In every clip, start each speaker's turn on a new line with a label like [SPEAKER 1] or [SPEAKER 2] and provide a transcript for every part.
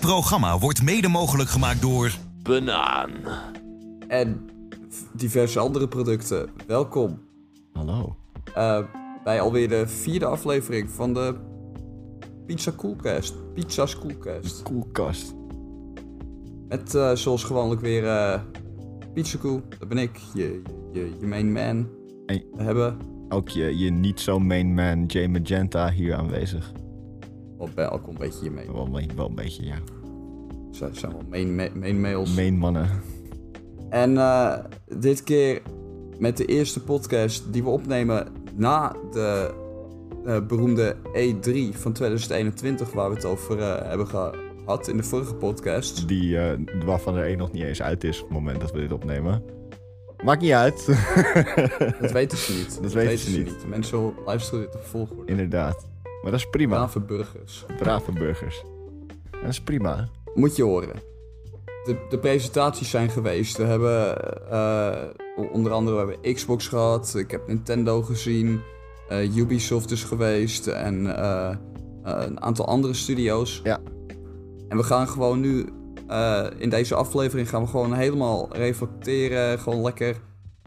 [SPEAKER 1] programma wordt mede mogelijk gemaakt door...
[SPEAKER 2] Banaan.
[SPEAKER 3] en diverse andere producten. Welkom
[SPEAKER 4] Hallo.
[SPEAKER 3] eh, bij alweer de vierde aflevering van de Pizza Coolcast. Pizza's Coolcast.
[SPEAKER 4] Koelkast.
[SPEAKER 3] Met eh, zoals gewoonlijk weer eh, Pizza Cool. Dat ben ik, je, je, je main man.
[SPEAKER 4] Hey.
[SPEAKER 3] We hebben
[SPEAKER 4] Ook je, je niet zo main man Jay Magenta hier aanwezig.
[SPEAKER 3] wel bij elk oh, een beetje je main.
[SPEAKER 4] Wel, een be- wel een beetje, ja.
[SPEAKER 3] Ze zijn wel main, ma- main mails.
[SPEAKER 4] Main mannen.
[SPEAKER 3] En eh, dit keer met de eerste podcast die we opnemen na de eh, beroemde E3 van 2021, waar we het over eh, hebben gehad in de vorige podcast.
[SPEAKER 4] Die, eh, waarvan er één nog niet eens uit is op het moment dat we dit opnemen. Maakt niet uit.
[SPEAKER 3] Dat weten ze niet.
[SPEAKER 4] Dat weten ze niet.
[SPEAKER 3] De Mensen luisteren dit op volgorde.
[SPEAKER 4] Inderdaad. Maar dat is prima.
[SPEAKER 3] Brave burgers.
[SPEAKER 4] Brave burgers. En dat is prima.
[SPEAKER 3] Moet je horen. De, de presentaties zijn geweest. We hebben eh, onder andere we hebben Xbox gehad. Ik heb Nintendo gezien. eh, Ubisoft is geweest. En eh, eh, een aantal andere studio's.
[SPEAKER 4] Ja.
[SPEAKER 3] En we gaan gewoon nu eh, in deze aflevering gaan we gewoon helemaal reflecteren. Gewoon lekker.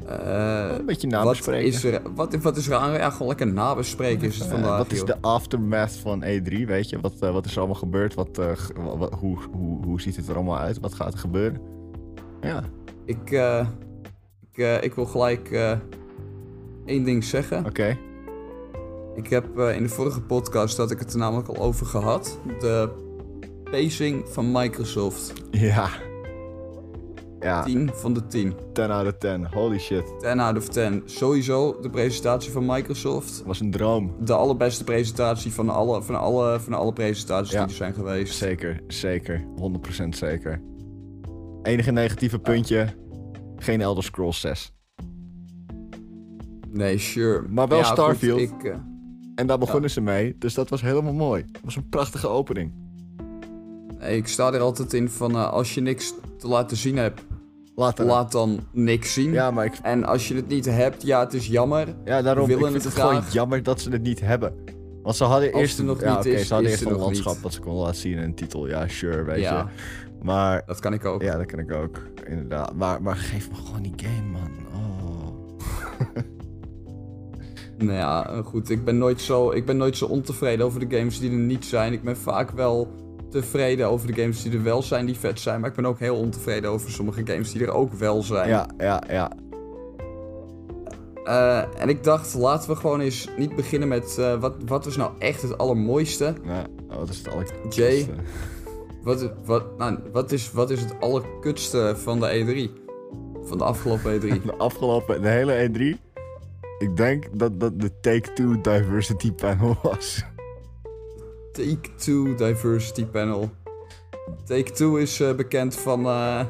[SPEAKER 3] eh,
[SPEAKER 4] Een beetje
[SPEAKER 3] wat
[SPEAKER 4] nabespreken.
[SPEAKER 3] is, er, wat, wat is er aan? Ja, gewoon lekker nabespreken is het
[SPEAKER 4] Eh,
[SPEAKER 3] vandaag.
[SPEAKER 4] wat is
[SPEAKER 3] joh.
[SPEAKER 4] de aftermath van E3, weet je? Wat, eh, wat is er allemaal gebeurd? Wat, eh, ge- wa- wa- hoe, hoe, hoe ziet het er allemaal uit? Wat gaat er gebeuren? Ja, oké.
[SPEAKER 3] Ik, eh, ik, eh, ik wil gelijk eh, één ding zeggen. Ik heb eh, in de vorige podcast dat ik het er namelijk al over gehad. De pacing van Microsoft.
[SPEAKER 4] Ja. Ja,
[SPEAKER 3] 10 van de 10.
[SPEAKER 4] 10 out of 10. Holy shit.
[SPEAKER 3] 10 out of 10. Sowieso de presentatie van Microsoft.
[SPEAKER 4] was een droom.
[SPEAKER 3] De allerbeste presentatie van alle, van alle, van alle presentaties
[SPEAKER 4] Ja.
[SPEAKER 3] die er zijn geweest.
[SPEAKER 4] Zeker, zeker. 100% zeker. Enige negatieve puntje. Geen Elder Scrolls 6.
[SPEAKER 3] Nee, sure.
[SPEAKER 4] Maar wel
[SPEAKER 3] Ja, goed,
[SPEAKER 4] Starfield.
[SPEAKER 3] ik, eh,
[SPEAKER 4] En daar begonnen ze mee, dus dat was helemaal mooi. Dat was een prachtige opening.
[SPEAKER 3] nee, ik sta er altijd in van eh, als je niks te laten zien hebt,
[SPEAKER 4] Later.
[SPEAKER 3] laat dan niks zien.
[SPEAKER 4] Ja, maar ik,
[SPEAKER 3] En als je het niet hebt, ja, het is jammer.
[SPEAKER 4] Ja, daarom
[SPEAKER 3] We
[SPEAKER 4] ik
[SPEAKER 3] willen
[SPEAKER 4] vind het,
[SPEAKER 3] het
[SPEAKER 4] gewoon
[SPEAKER 3] graag.
[SPEAKER 4] jammer dat ze het niet hebben. Want ze hadden
[SPEAKER 3] Als
[SPEAKER 4] eerst
[SPEAKER 3] het er nog
[SPEAKER 4] ja,
[SPEAKER 3] niet
[SPEAKER 4] oké,
[SPEAKER 3] is,
[SPEAKER 4] ze hadden
[SPEAKER 3] is
[SPEAKER 4] eerst
[SPEAKER 3] er
[SPEAKER 4] een
[SPEAKER 3] nog
[SPEAKER 4] landschap
[SPEAKER 3] niet.
[SPEAKER 4] dat ze konden laten zien en een titel. Ja, sure, weet
[SPEAKER 3] Ja.
[SPEAKER 4] je. Maar
[SPEAKER 3] Dat kan ik ook.
[SPEAKER 4] ja, dat kan ik ook, inderdaad. Maar, maar geef me gewoon die game, man. Oh.
[SPEAKER 3] Nou ja, eh, goed. Ik ben, nooit zo, ik ben nooit zo ontevreden over de games die er niet zijn. Ik ben vaak wel tevreden over de games die er wel zijn, die vet zijn. Maar ik ben ook heel ontevreden over sommige games die er ook wel zijn.
[SPEAKER 4] Ja, ja, ja.
[SPEAKER 3] Eh, en ik dacht, laten we gewoon eens niet beginnen met eh, wat, wat was nou echt het allermooiste?
[SPEAKER 4] Nou, wat is het alle...
[SPEAKER 3] Jay? Wat, wat, nou, wat, is, wat is het allerkutste van de E3? Van de afgelopen E E3.
[SPEAKER 4] De afgelopen, de hele E3. Ik denk dat dat de Take-Two Diversity Panel was.
[SPEAKER 3] Take Two Diversity Panel. Take Two is eh, bekend van. eh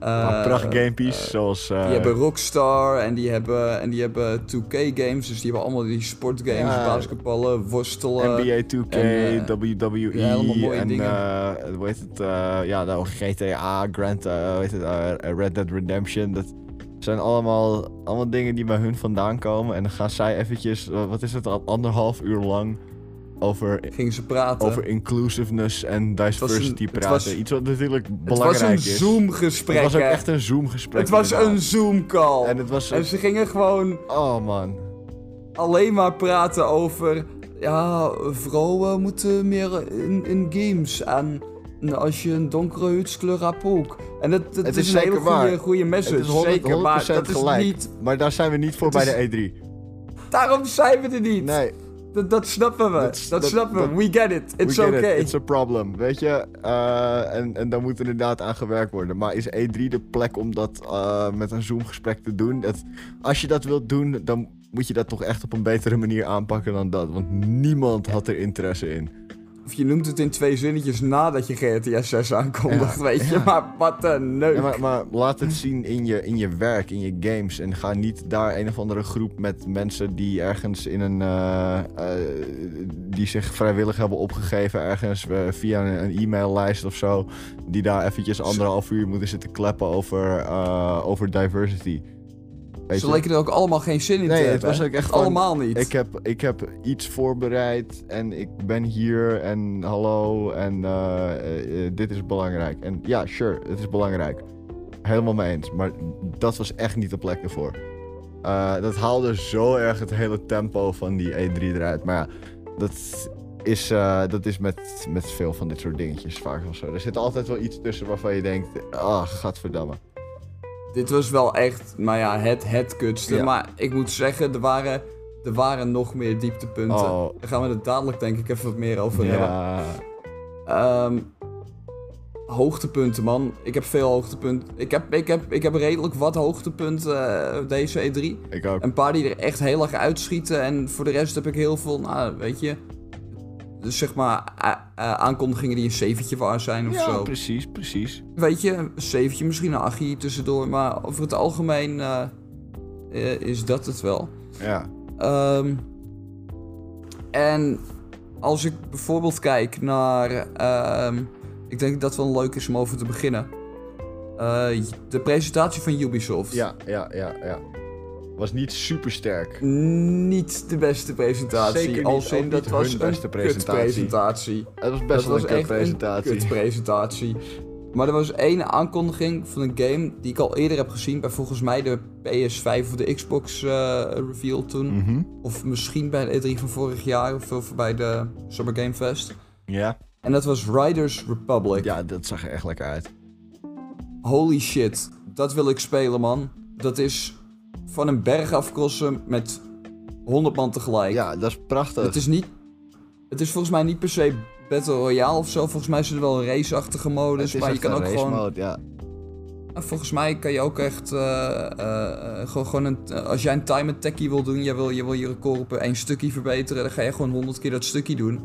[SPEAKER 4] maar
[SPEAKER 3] eh,
[SPEAKER 4] pracht gamepjes, zoals... eh,
[SPEAKER 3] Die hebben Rockstar en die hebben, en die hebben 2K games. Dus die hebben allemaal die sportgames,
[SPEAKER 4] Ja.
[SPEAKER 3] basketballen, worstelen.
[SPEAKER 4] NBA 2K,
[SPEAKER 3] en, eh,
[SPEAKER 4] WWE
[SPEAKER 3] ja, allemaal mooie
[SPEAKER 4] E, en
[SPEAKER 3] dingen.
[SPEAKER 4] eh, hoe heet het? eh, ja, nou, GTA, Grand, eh, hoe heet het, eh, Red Dead Redemption. Dat zijn allemaal, allemaal dingen die bij hun vandaan komen. En dan gaan zij eventjes, eh, wat is het, al anderhalf uur lang over,
[SPEAKER 3] Gingen ze praten.
[SPEAKER 4] over inclusiveness en
[SPEAKER 3] was
[SPEAKER 4] diversity
[SPEAKER 3] een- het
[SPEAKER 4] praten.
[SPEAKER 3] was-
[SPEAKER 4] Iets wat natuurlijk
[SPEAKER 3] het was
[SPEAKER 4] belangrijk
[SPEAKER 3] een
[SPEAKER 4] is.
[SPEAKER 3] Zoom-gesprek.
[SPEAKER 4] Het was ook
[SPEAKER 3] hè.
[SPEAKER 4] echt een Zoom-gesprek.
[SPEAKER 3] Het was
[SPEAKER 4] inderdaad.
[SPEAKER 3] een Zoom-call.
[SPEAKER 4] En
[SPEAKER 3] En,
[SPEAKER 4] het was een...
[SPEAKER 3] ze gingen gewoon
[SPEAKER 4] Oh man.
[SPEAKER 3] alleen maar praten over. Ja, vrouwen moeten meer in, in games aan. En als je een donkere huidskleur hebt ook. En dat, dat
[SPEAKER 4] Het
[SPEAKER 3] is,
[SPEAKER 4] is
[SPEAKER 3] een
[SPEAKER 4] zeker
[SPEAKER 3] hele goede,
[SPEAKER 4] waar.
[SPEAKER 3] goede
[SPEAKER 4] Het
[SPEAKER 3] message.
[SPEAKER 4] is 100%,
[SPEAKER 3] zeker, maar dat is
[SPEAKER 4] gelijk.
[SPEAKER 3] niet.
[SPEAKER 4] Maar daar zijn we niet voor
[SPEAKER 3] Het
[SPEAKER 4] bij de E3.
[SPEAKER 3] Daarom zijn we er niet.
[SPEAKER 4] Nee.
[SPEAKER 3] Dat, dat snappen we.
[SPEAKER 4] Dat-
[SPEAKER 3] Dat,
[SPEAKER 4] dat-
[SPEAKER 3] snappen we.
[SPEAKER 4] dat-
[SPEAKER 3] We get it. It's
[SPEAKER 4] We get
[SPEAKER 3] okay.
[SPEAKER 4] It. It's a problem, weet je. Eh, en, en daar moet inderdaad aan gewerkt worden. Maar is E3 de plek om dat eh, met een Zoom-gesprek te doen? Dat, als je dat wilt doen, dan moet je dat toch echt op een betere manier aanpakken dan dat. Want niemand had er interesse in.
[SPEAKER 3] Of je noemt het in twee zinnetjes nadat je GTA 6 aankondigt, weet je. Maar wat een neuk.
[SPEAKER 4] Ja, maar, maar laat het zien in je, in je werk, in je games. En ga niet daar een of andere groep met mensen die ergens in een. eh, eh, die zich vrijwillig hebben opgegeven ergens eh, via een, een e-maillijst of zo. Die daar eventjes anderhalf uur moeten zitten kleppen over, eh, over diversity. Weet
[SPEAKER 3] Ze
[SPEAKER 4] je?
[SPEAKER 3] leken er ook allemaal geen zin in te
[SPEAKER 4] Nee,
[SPEAKER 3] hebben.
[SPEAKER 4] het was
[SPEAKER 3] hè?
[SPEAKER 4] ook echt
[SPEAKER 3] Allemaal niet.
[SPEAKER 4] Ik eh, heb, ik heb iets voorbereid en ik ben hier en hallo en eh, eh, eh, dit is belangrijk. En ja, sure, het is belangrijk. Helemaal mee eens, maar dat was echt niet de plek ervoor. Eh, dat haalde zo erg het hele tempo van die E3 eruit. Maar ja, dat is, eh, dat is met, met veel van dit soort dingetjes vaak wel zo. Er zit altijd wel iets tussen waarvan je denkt, ah, gadverdamme.
[SPEAKER 3] Dit was wel echt, nou ja, het, het kutste.
[SPEAKER 4] Ja.
[SPEAKER 3] Maar ik moet zeggen, er waren, er waren nog meer dieptepunten.
[SPEAKER 4] Oh.
[SPEAKER 3] Daar gaan we het dadelijk denk ik even wat meer over hebben.
[SPEAKER 4] Ja,
[SPEAKER 3] Ehm, hoogtepunten, man. Ik heb veel hoogtepunten. Ik heb, ik heb, ik heb redelijk wat hoogtepunten eh, deze E3.
[SPEAKER 4] ik ook.
[SPEAKER 3] Een paar die er echt heel erg uitschieten. En voor de rest heb ik heel veel, nou, weet je... Dus zeg maar a- a- aankondigingen die een zeventje waar zijn of
[SPEAKER 4] Ja,
[SPEAKER 3] zo.
[SPEAKER 4] precies, precies.
[SPEAKER 3] Weet je, een zeventje, misschien een achtje hier tussendoor. Maar over het algemeen eh, eh, is dat het wel.
[SPEAKER 4] Ja.
[SPEAKER 3] Ehm, en als ik bijvoorbeeld kijk naar. ehm, ik denk dat het wel leuk is om over te beginnen. Eh, de presentatie van Ubisoft.
[SPEAKER 4] Ja, ja, ja, ja. Was niet super sterk.
[SPEAKER 3] Niet de beste presentatie.
[SPEAKER 4] Zeker niet,
[SPEAKER 3] als
[SPEAKER 4] ook
[SPEAKER 3] in
[SPEAKER 4] niet
[SPEAKER 3] dat was
[SPEAKER 4] hun
[SPEAKER 3] een
[SPEAKER 4] beste presentatie.
[SPEAKER 3] kutpresentatie.
[SPEAKER 4] Het was
[SPEAKER 3] Dat
[SPEAKER 4] best
[SPEAKER 3] was
[SPEAKER 4] wel een
[SPEAKER 3] echt
[SPEAKER 4] presentatie.
[SPEAKER 3] een kutpresentatie. Maar er was één aankondiging van een game die ik al eerder heb gezien bij volgens mij de PS5 of de Xbox eh, reveal toen.
[SPEAKER 4] Mhm.
[SPEAKER 3] Of misschien bij de E3 van vorig jaar of, of bij de Summer Game Fest.
[SPEAKER 4] Ja.
[SPEAKER 3] En dat was Riders Republic.
[SPEAKER 4] ja, dat zag er echt lekker uit.
[SPEAKER 3] Holy shit, dat wil ik spelen man. Dat is van een berg afkrossen met 100 man tegelijk.
[SPEAKER 4] Ja, dat is prachtig.
[SPEAKER 3] Het is niet. Het is volgens mij niet per se Battle Royale of zo. Volgens mij is er wel een raceachtige modus.
[SPEAKER 4] Het is
[SPEAKER 3] dus, Maar je
[SPEAKER 4] echt
[SPEAKER 3] kan
[SPEAKER 4] een
[SPEAKER 3] ook
[SPEAKER 4] race
[SPEAKER 3] gewoon.
[SPEAKER 4] mode, ja.
[SPEAKER 3] Nou, Volgens mij kan je ook echt. eh, eh, eh, gewoon, gewoon een, eh, als jij een time attackie wil doen, je wil, je wil je record op één stukje verbeteren, dan ga je gewoon 100 keer dat stukje doen.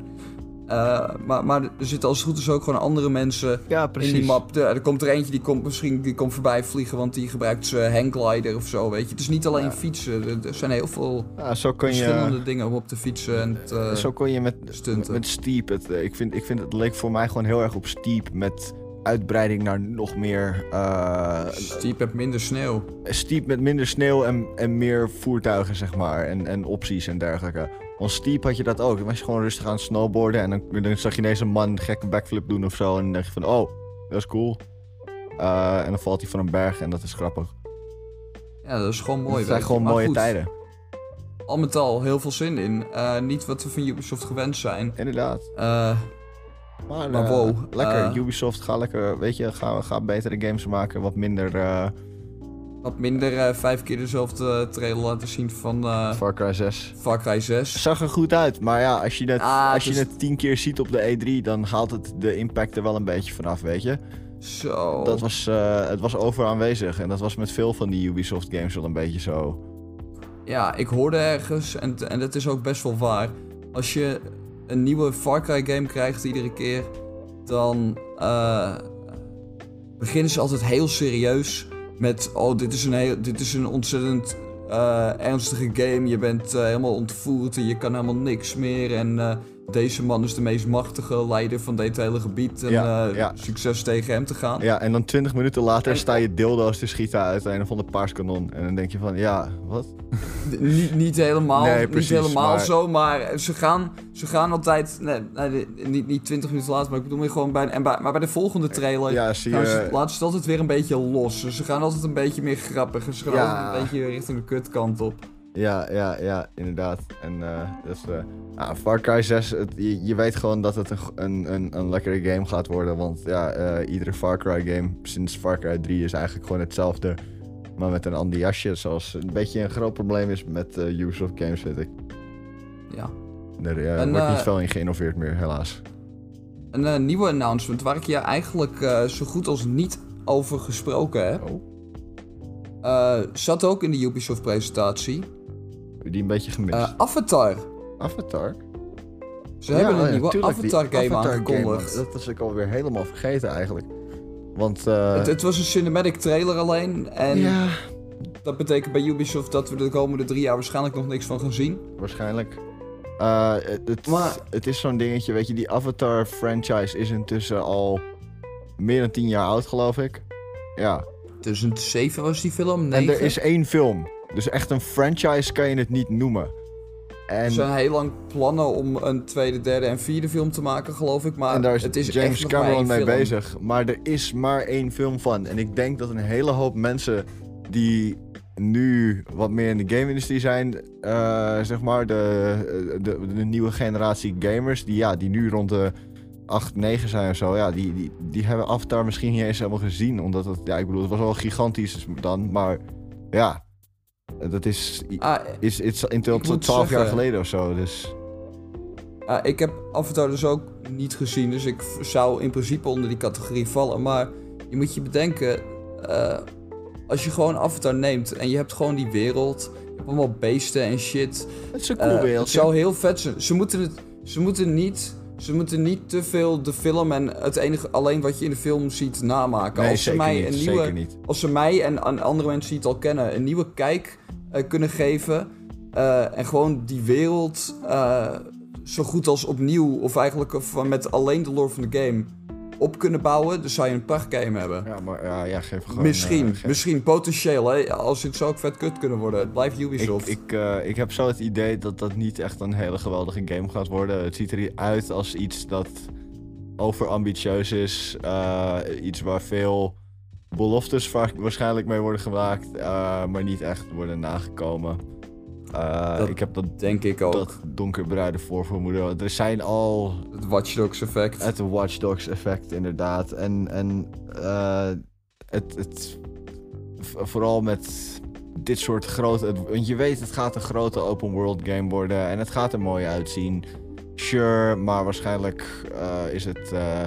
[SPEAKER 3] Eh, maar, maar er zitten als het goed is ook gewoon andere mensen
[SPEAKER 4] Ja,
[SPEAKER 3] in die map. Er, er komt er eentje die komt misschien die komt voorbij vliegen, want die gebruikt zijn hangglider of zo. Weet je. Het is niet alleen
[SPEAKER 4] Ja.
[SPEAKER 3] fietsen. Er, er zijn heel veel
[SPEAKER 4] Ja, zo kon
[SPEAKER 3] verschillende
[SPEAKER 4] je...
[SPEAKER 3] dingen om op te fietsen. En te,
[SPEAKER 4] Zo kon je met,
[SPEAKER 3] stunten.
[SPEAKER 4] met Steep. Het, eh, ik, vind, ik vind het leek voor mij gewoon heel erg op Steep. Met uitbreiding naar nog meer. eh,
[SPEAKER 3] Steep dus hebt minder sneeuw.
[SPEAKER 4] steep met minder sneeuw en, en meer voertuigen, zeg maar. En, en opties en dergelijke. Want steep had je dat ook. Dan was je gewoon rustig aan het snowboarden. En dan, dan zag je ineens een man een gekke backflip doen of zo. En dan dacht je van, oh, dat is cool. Eh, en dan valt hij van een berg en dat is grappig.
[SPEAKER 3] Ja, dat is gewoon mooi.
[SPEAKER 4] dat
[SPEAKER 3] weet
[SPEAKER 4] zijn
[SPEAKER 3] je.
[SPEAKER 4] gewoon
[SPEAKER 3] Maar
[SPEAKER 4] mooie
[SPEAKER 3] goed,
[SPEAKER 4] tijden.
[SPEAKER 3] Al met al heel veel zin in. Eh, niet wat we van Ubisoft gewend zijn.
[SPEAKER 4] Inderdaad.
[SPEAKER 3] Eh,
[SPEAKER 4] Maar,
[SPEAKER 3] Maar
[SPEAKER 4] eh,
[SPEAKER 3] wow,
[SPEAKER 4] Lekker,
[SPEAKER 3] eh,
[SPEAKER 4] Ubisoft, ga lekker, weet je, ga, ga betere games maken. Wat minder eh,
[SPEAKER 3] wat minder eh, vijf keer dezelfde eh, trailer laten zien van eh
[SPEAKER 4] Far Cry 6.
[SPEAKER 3] Far Cry 6.
[SPEAKER 4] Zag er goed uit, maar ja, als je het,
[SPEAKER 3] Ah,
[SPEAKER 4] als je
[SPEAKER 3] het is-
[SPEAKER 4] het tien keer ziet op de E3, dan haalt het de impact er wel een beetje vanaf, weet je.
[SPEAKER 3] Zo.
[SPEAKER 4] Dat was, eh, het was overal aanwezig en dat was met veel van die Ubisoft games wel een beetje zo.
[SPEAKER 3] Ja, ik hoorde ergens, en, en dat is ook best wel waar. Als je een nieuwe Far Cry game krijgt iedere keer, dan eh, beginnen ze altijd heel serieus met: Oh, dit is een, heel, dit is een ontzettend eh, ernstige game. Je bent eh, helemaal ontvoerd en je kan helemaal niks meer. En eh, deze man is de meest machtige leider van dit hele gebied. En
[SPEAKER 4] Ja,
[SPEAKER 3] eh,
[SPEAKER 4] ja.
[SPEAKER 3] succes tegen hem te gaan.
[SPEAKER 4] Ja, en dan twintig minuten later sta je dildo's te schieten uit een of ander paars kanon. En dan denk je van, ja, wat?
[SPEAKER 3] D- Niet, niet helemaal,
[SPEAKER 4] Nee,
[SPEAKER 3] niet
[SPEAKER 4] precies,
[SPEAKER 3] helemaal
[SPEAKER 4] maar-
[SPEAKER 3] zo, maar ze gaan, ze gaan altijd. Nee, nee, de- niet, niet 20 minuten later, maar ik bedoel meer gewoon bij, en bij. Maar bij de volgende trailer
[SPEAKER 4] Ja, zie
[SPEAKER 3] gaan ze,
[SPEAKER 4] je...
[SPEAKER 3] laten ze het altijd weer een beetje los. Dus ze gaan altijd een beetje meer grappig. En ze gaan
[SPEAKER 4] Ja.
[SPEAKER 3] altijd een beetje richting de kutkant op.
[SPEAKER 4] Ja, ja, ja, inderdaad. En eh, dat is... eh, ah, Far Cry 6, het- je, je weet gewoon dat het een, g- een, een, een lekkere game gaat worden. Want ja, eh, iedere Far Cry game sinds Far Cry 3 is eigenlijk gewoon hetzelfde. Maar met een ander jasje, zoals een beetje een groot probleem is met eh, Ubisoft games, vind ik.
[SPEAKER 3] Ja.
[SPEAKER 4] Er eh,
[SPEAKER 3] En,
[SPEAKER 4] wordt
[SPEAKER 3] eh,
[SPEAKER 4] niet veel in geïnnoveerd meer, helaas.
[SPEAKER 3] Een eh, nieuwe announcement waar ik je eigenlijk eh, zo goed als niet over gesproken heb.
[SPEAKER 4] Oh.
[SPEAKER 3] Eh, zat ook in de Ubisoft-presentatie.
[SPEAKER 4] Die een beetje gemist.
[SPEAKER 3] Eh, Avatar.
[SPEAKER 4] Avatar?
[SPEAKER 3] Ze
[SPEAKER 4] Ja,
[SPEAKER 3] hebben
[SPEAKER 4] oh
[SPEAKER 3] een
[SPEAKER 4] ja,
[SPEAKER 3] nieuwe
[SPEAKER 4] tuurlijk, die
[SPEAKER 3] Avatar-game
[SPEAKER 4] Avatar-game,
[SPEAKER 3] aangekondigd.
[SPEAKER 4] man. dat was ik alweer helemaal vergeten eigenlijk. Want eh,
[SPEAKER 3] het, het was een cinematic trailer alleen. En
[SPEAKER 4] ja,
[SPEAKER 3] Dat betekent bij Ubisoft dat we de komende drie jaar waarschijnlijk nog niks van gaan zien.
[SPEAKER 4] waarschijnlijk. Eh, het, het-
[SPEAKER 3] Maar-
[SPEAKER 4] het is zo'n dingetje, weet je, die Avatar franchise is intussen al meer dan 10 jaar oud, geloof ik. Ja.
[SPEAKER 3] 2007 was die film,
[SPEAKER 4] En
[SPEAKER 3] nee.
[SPEAKER 4] er is één film Dus echt een franchise kan je het niet noemen.
[SPEAKER 3] Er
[SPEAKER 4] En
[SPEAKER 3] zijn heel lang plannen om een tweede, derde en vierde film te maken, geloof ik. Maar
[SPEAKER 4] En daar is,
[SPEAKER 3] Ah, het is echt
[SPEAKER 4] James
[SPEAKER 3] nog maar
[SPEAKER 4] Cameron
[SPEAKER 3] één
[SPEAKER 4] mee
[SPEAKER 3] film.
[SPEAKER 4] bezig. Maar er is maar één film van. En ik denk dat een hele hoop mensen die nu wat meer in de game-industrie zijn, eh, zeg maar, de, de, de nieuwe generatie gamers, die, ja, die nu rond de 8, 9 zijn of zo, ja, die, die, die hebben Avatar misschien niet eens helemaal gezien. Omdat het, ja, ik bedoel, het was wel gigantisch dan, maar ja, dat is,
[SPEAKER 3] Ah,
[SPEAKER 4] is, is in
[SPEAKER 3] Ik moet
[SPEAKER 4] 12 jaar
[SPEAKER 3] zeggen-
[SPEAKER 4] geleden of zo. Dus
[SPEAKER 3] ah, ik heb Avatar dus ook niet gezien, dus ik v- zou in principe onder die categorie vallen. Maar je moet je bedenken, eh, als je gewoon Avatar neemt en je hebt gewoon die wereld, je hebt allemaal beesten en shit.
[SPEAKER 4] het is een
[SPEAKER 3] Eh,
[SPEAKER 4] cool
[SPEAKER 3] het
[SPEAKER 4] wereld.
[SPEAKER 3] zou heel vet zijn. Ze moeten, het, ze moeten niet... Ze moeten niet te veel de film en het enige alleen wat je in de film ziet namaken.
[SPEAKER 4] Nee,
[SPEAKER 3] als ze
[SPEAKER 4] zeker
[SPEAKER 3] mij
[SPEAKER 4] niet,
[SPEAKER 3] een
[SPEAKER 4] zeker
[SPEAKER 3] nieuwe,
[SPEAKER 4] niet.
[SPEAKER 3] als ze mij en aan andere mensen die het al kennen een nieuwe kijk eh, kunnen geven eh, en gewoon die wereld eh, zo goed als opnieuw of eigenlijk van, met alleen de lore van de game op kunnen bouwen, dan zou je een prachtgame hebben.
[SPEAKER 4] Ja, maar ja, ja geef gewoon...
[SPEAKER 3] misschien,
[SPEAKER 4] eh, geef-
[SPEAKER 3] misschien potentieel, hè? als het zou ook vet kut kunnen worden. Het blijft Ubisoft.
[SPEAKER 4] Ik, ik, eh, ik heb zo het idee dat dat niet echt een hele geweldige game gaat worden. Het ziet eruit als iets dat overambitieus is. eh, iets waar veel beloftes vaak- waarschijnlijk mee worden gemaakt, eh, maar niet echt worden nagekomen. Eh,
[SPEAKER 3] Dat
[SPEAKER 4] ik heb dat,
[SPEAKER 3] Denk ik ook.
[SPEAKER 4] dat donkerbruide voorvermoeden. Er zijn al
[SPEAKER 3] Het Watch Dogs effect.
[SPEAKER 4] het Watch Dogs effect, inderdaad. En, en eh, het, het, v- vooral met dit soort grote... het- want je weet, het gaat een grote open world game worden. En het gaat er mooi uitzien. Sure, maar waarschijnlijk eh, is het eh,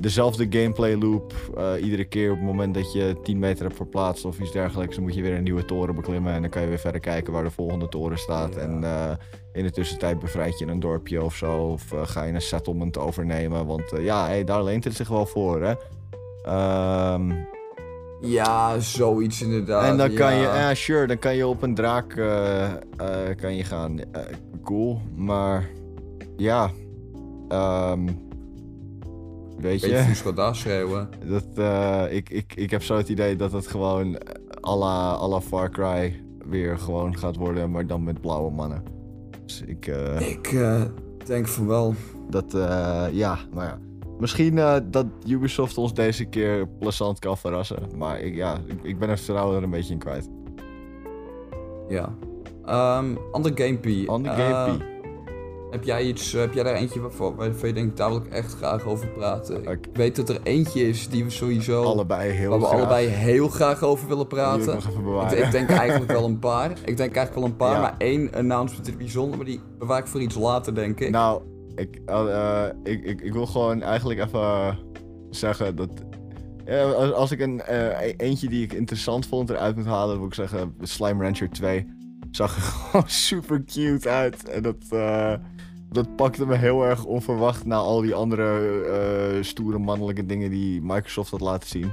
[SPEAKER 4] dezelfde gameplay loop. eh, iedere keer op het moment dat je 10 meter hebt verplaatst of iets dergelijks... dan moet je weer een nieuwe toren beklimmen. En dan kan je weer verder kijken waar de volgende toren staat.
[SPEAKER 3] Ja.
[SPEAKER 4] En eh, in de tussentijd bevrijd je een dorpje of zo. Of eh, ga je een settlement overnemen. Want eh, ja, hey, daar leent het zich wel voor, hè. Ehm,
[SPEAKER 3] Ja, zoiets inderdaad.
[SPEAKER 4] en dan kan
[SPEAKER 3] Ah, ja.
[SPEAKER 4] je, ja, sure, dan kan je op een draak eh, eh, kan je gaan. Eh, cool, maar ja. ehm, weet
[SPEAKER 3] Weet je,
[SPEAKER 4] je,
[SPEAKER 3] Fusco daar schreeuwen.
[SPEAKER 4] dat, eh, ik, ik, ik heb zo het idee dat het gewoon à la, à la Far Cry weer gewoon gaat worden, maar dan met blauwe mannen. Dus ik, eh,
[SPEAKER 3] Ik eh, denk van wel.
[SPEAKER 4] dat, eh, ja, maar ja. Misschien eh, dat Ubisoft ons deze keer plezant kan verrassen. Maar ik, ja, ik, ik ben er vertrouwen er een beetje in kwijt.
[SPEAKER 3] Ja. Ehm ander gamepie.
[SPEAKER 4] Ander
[SPEAKER 3] Eh,
[SPEAKER 4] gamepie.
[SPEAKER 3] Heb jij iets, eh, heb jij daar eentje waarvan, waarvan je denkt, daar wil ik echt graag over praten?
[SPEAKER 4] Ik-
[SPEAKER 3] Ik weet dat er eentje is die we sowieso,
[SPEAKER 4] allebei heel
[SPEAKER 3] waar oh. we
[SPEAKER 4] graag.
[SPEAKER 3] allebei heel graag over willen
[SPEAKER 4] Die wil
[SPEAKER 3] praten.
[SPEAKER 4] ik nog even
[SPEAKER 3] Ik,
[SPEAKER 4] bewaren.
[SPEAKER 3] ik denk eigenlijk wel een paar. Ik denk eigenlijk wel een paar,
[SPEAKER 4] Ja.
[SPEAKER 3] maar één announcement in het bijzonder, maar die bewaar ik voor iets later, denk ik.
[SPEAKER 4] Nou, ik, eh, eh, ik, ik, ik wil gewoon eigenlijk even eh, zeggen dat. Ja, als, als ik een eh, e- eentje die ik interessant vond eruit moet halen, dan wil ik zeggen: Slime Rancher 2 zag er gewoon super cute uit. En dat, eh, dat pakte me heel erg onverwacht na al die andere eh, stoere mannelijke dingen die Microsoft had laten zien.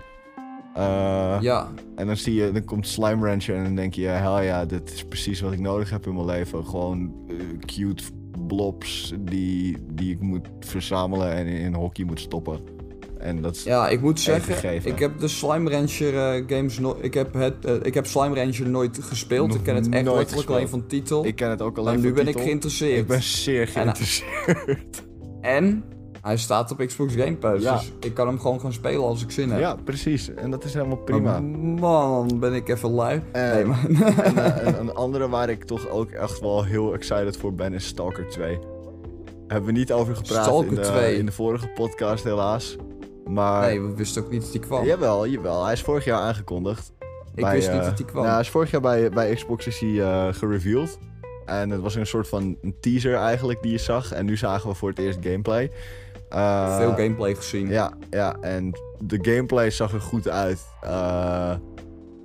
[SPEAKER 4] Eh,
[SPEAKER 3] ja,
[SPEAKER 4] en dan zie je, dan komt Slime Rancher en dan denk je, hel ja, dit is precies wat ik nodig heb in mijn leven. Gewoon eh, cute blobs die, die ik moet verzamelen en in, in hockey moet stoppen. En dat is
[SPEAKER 3] Ja, ik moet zeggen,
[SPEAKER 4] gegeven.
[SPEAKER 3] ik heb de Slime Rancher eh, games no ik heb het, eh, ik heb Slime Rancher nooit gespeeld.
[SPEAKER 4] Nog
[SPEAKER 3] ik ken het echt
[SPEAKER 4] nooit
[SPEAKER 3] letterlijk alleen
[SPEAKER 4] gespeeld.
[SPEAKER 3] van titel.
[SPEAKER 4] ik ken het ook alleen
[SPEAKER 3] maar nu
[SPEAKER 4] van
[SPEAKER 3] ben
[SPEAKER 4] titel.
[SPEAKER 3] ik geïnteresseerd. eh,
[SPEAKER 4] Ik ben zeer geïnteresseerd.
[SPEAKER 3] En hij staat op Xbox Game Pass,
[SPEAKER 4] Ja.
[SPEAKER 3] dus ik kan hem gewoon gaan spelen als ik zin heb.
[SPEAKER 4] Ja, precies. En dat is helemaal prima.
[SPEAKER 3] Maar Man, ben ik even lui.
[SPEAKER 4] Eh,
[SPEAKER 3] nee, maar...
[SPEAKER 4] En eh, een, een andere waar ik toch ook echt wel heel excited voor ben is Stalker 2. Hebben we niet over gepraat in,
[SPEAKER 3] Stalker
[SPEAKER 4] de,
[SPEAKER 3] 2.
[SPEAKER 4] in de vorige podcast helaas. Maar
[SPEAKER 3] nee, we wisten ook niet dat die kwam.
[SPEAKER 4] Jawel, jawel. Hij is vorig jaar aangekondigd.
[SPEAKER 3] Oh. Ik wist niet dat hij kwam.
[SPEAKER 4] Nou, hij is vorig jaar bij, bij Xbox is hij eh, gereveeld. En het was een soort van een teaser eigenlijk die je zag. En nu zagen we voor het eerst gameplay. Eh,
[SPEAKER 3] Veel gameplay gezien.
[SPEAKER 4] Ja, ja, en de gameplay zag er goed uit. Eh,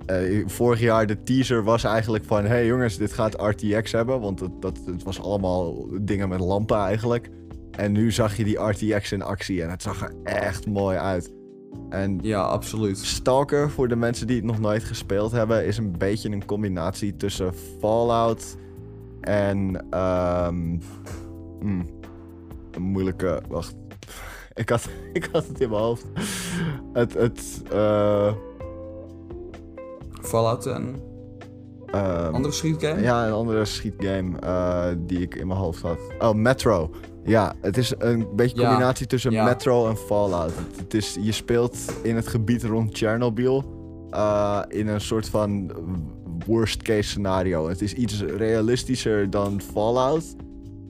[SPEAKER 4] eh, vorig jaar de teaser was eigenlijk van... hey jongens, dit gaat RTX hebben. Want het, dat, het was allemaal dingen met lampen eigenlijk. En nu zag je die RTX in actie. En het zag er echt mooi uit. En
[SPEAKER 3] Ja, absoluut.
[SPEAKER 4] Stalker, voor de mensen die het nog nooit gespeeld hebben, is een beetje een combinatie tussen Fallout en. ehm, mm, een moeilijke. Wacht. Ik had, ik had het in mijn hoofd. Het. het eh,
[SPEAKER 3] Fallout en...
[SPEAKER 4] ehm,
[SPEAKER 3] Andere schietgame?
[SPEAKER 4] Ja, een andere schietgame eh, die ik in mijn hoofd had. Oh, Metro. Ja, het is een beetje een
[SPEAKER 3] Ja,
[SPEAKER 4] combinatie tussen
[SPEAKER 3] ja.
[SPEAKER 4] Metro en Fallout. Het, het is, je speelt in het gebied rond Chernobyl eh, in een soort van worst case scenario. Het is iets realistischer dan Fallout.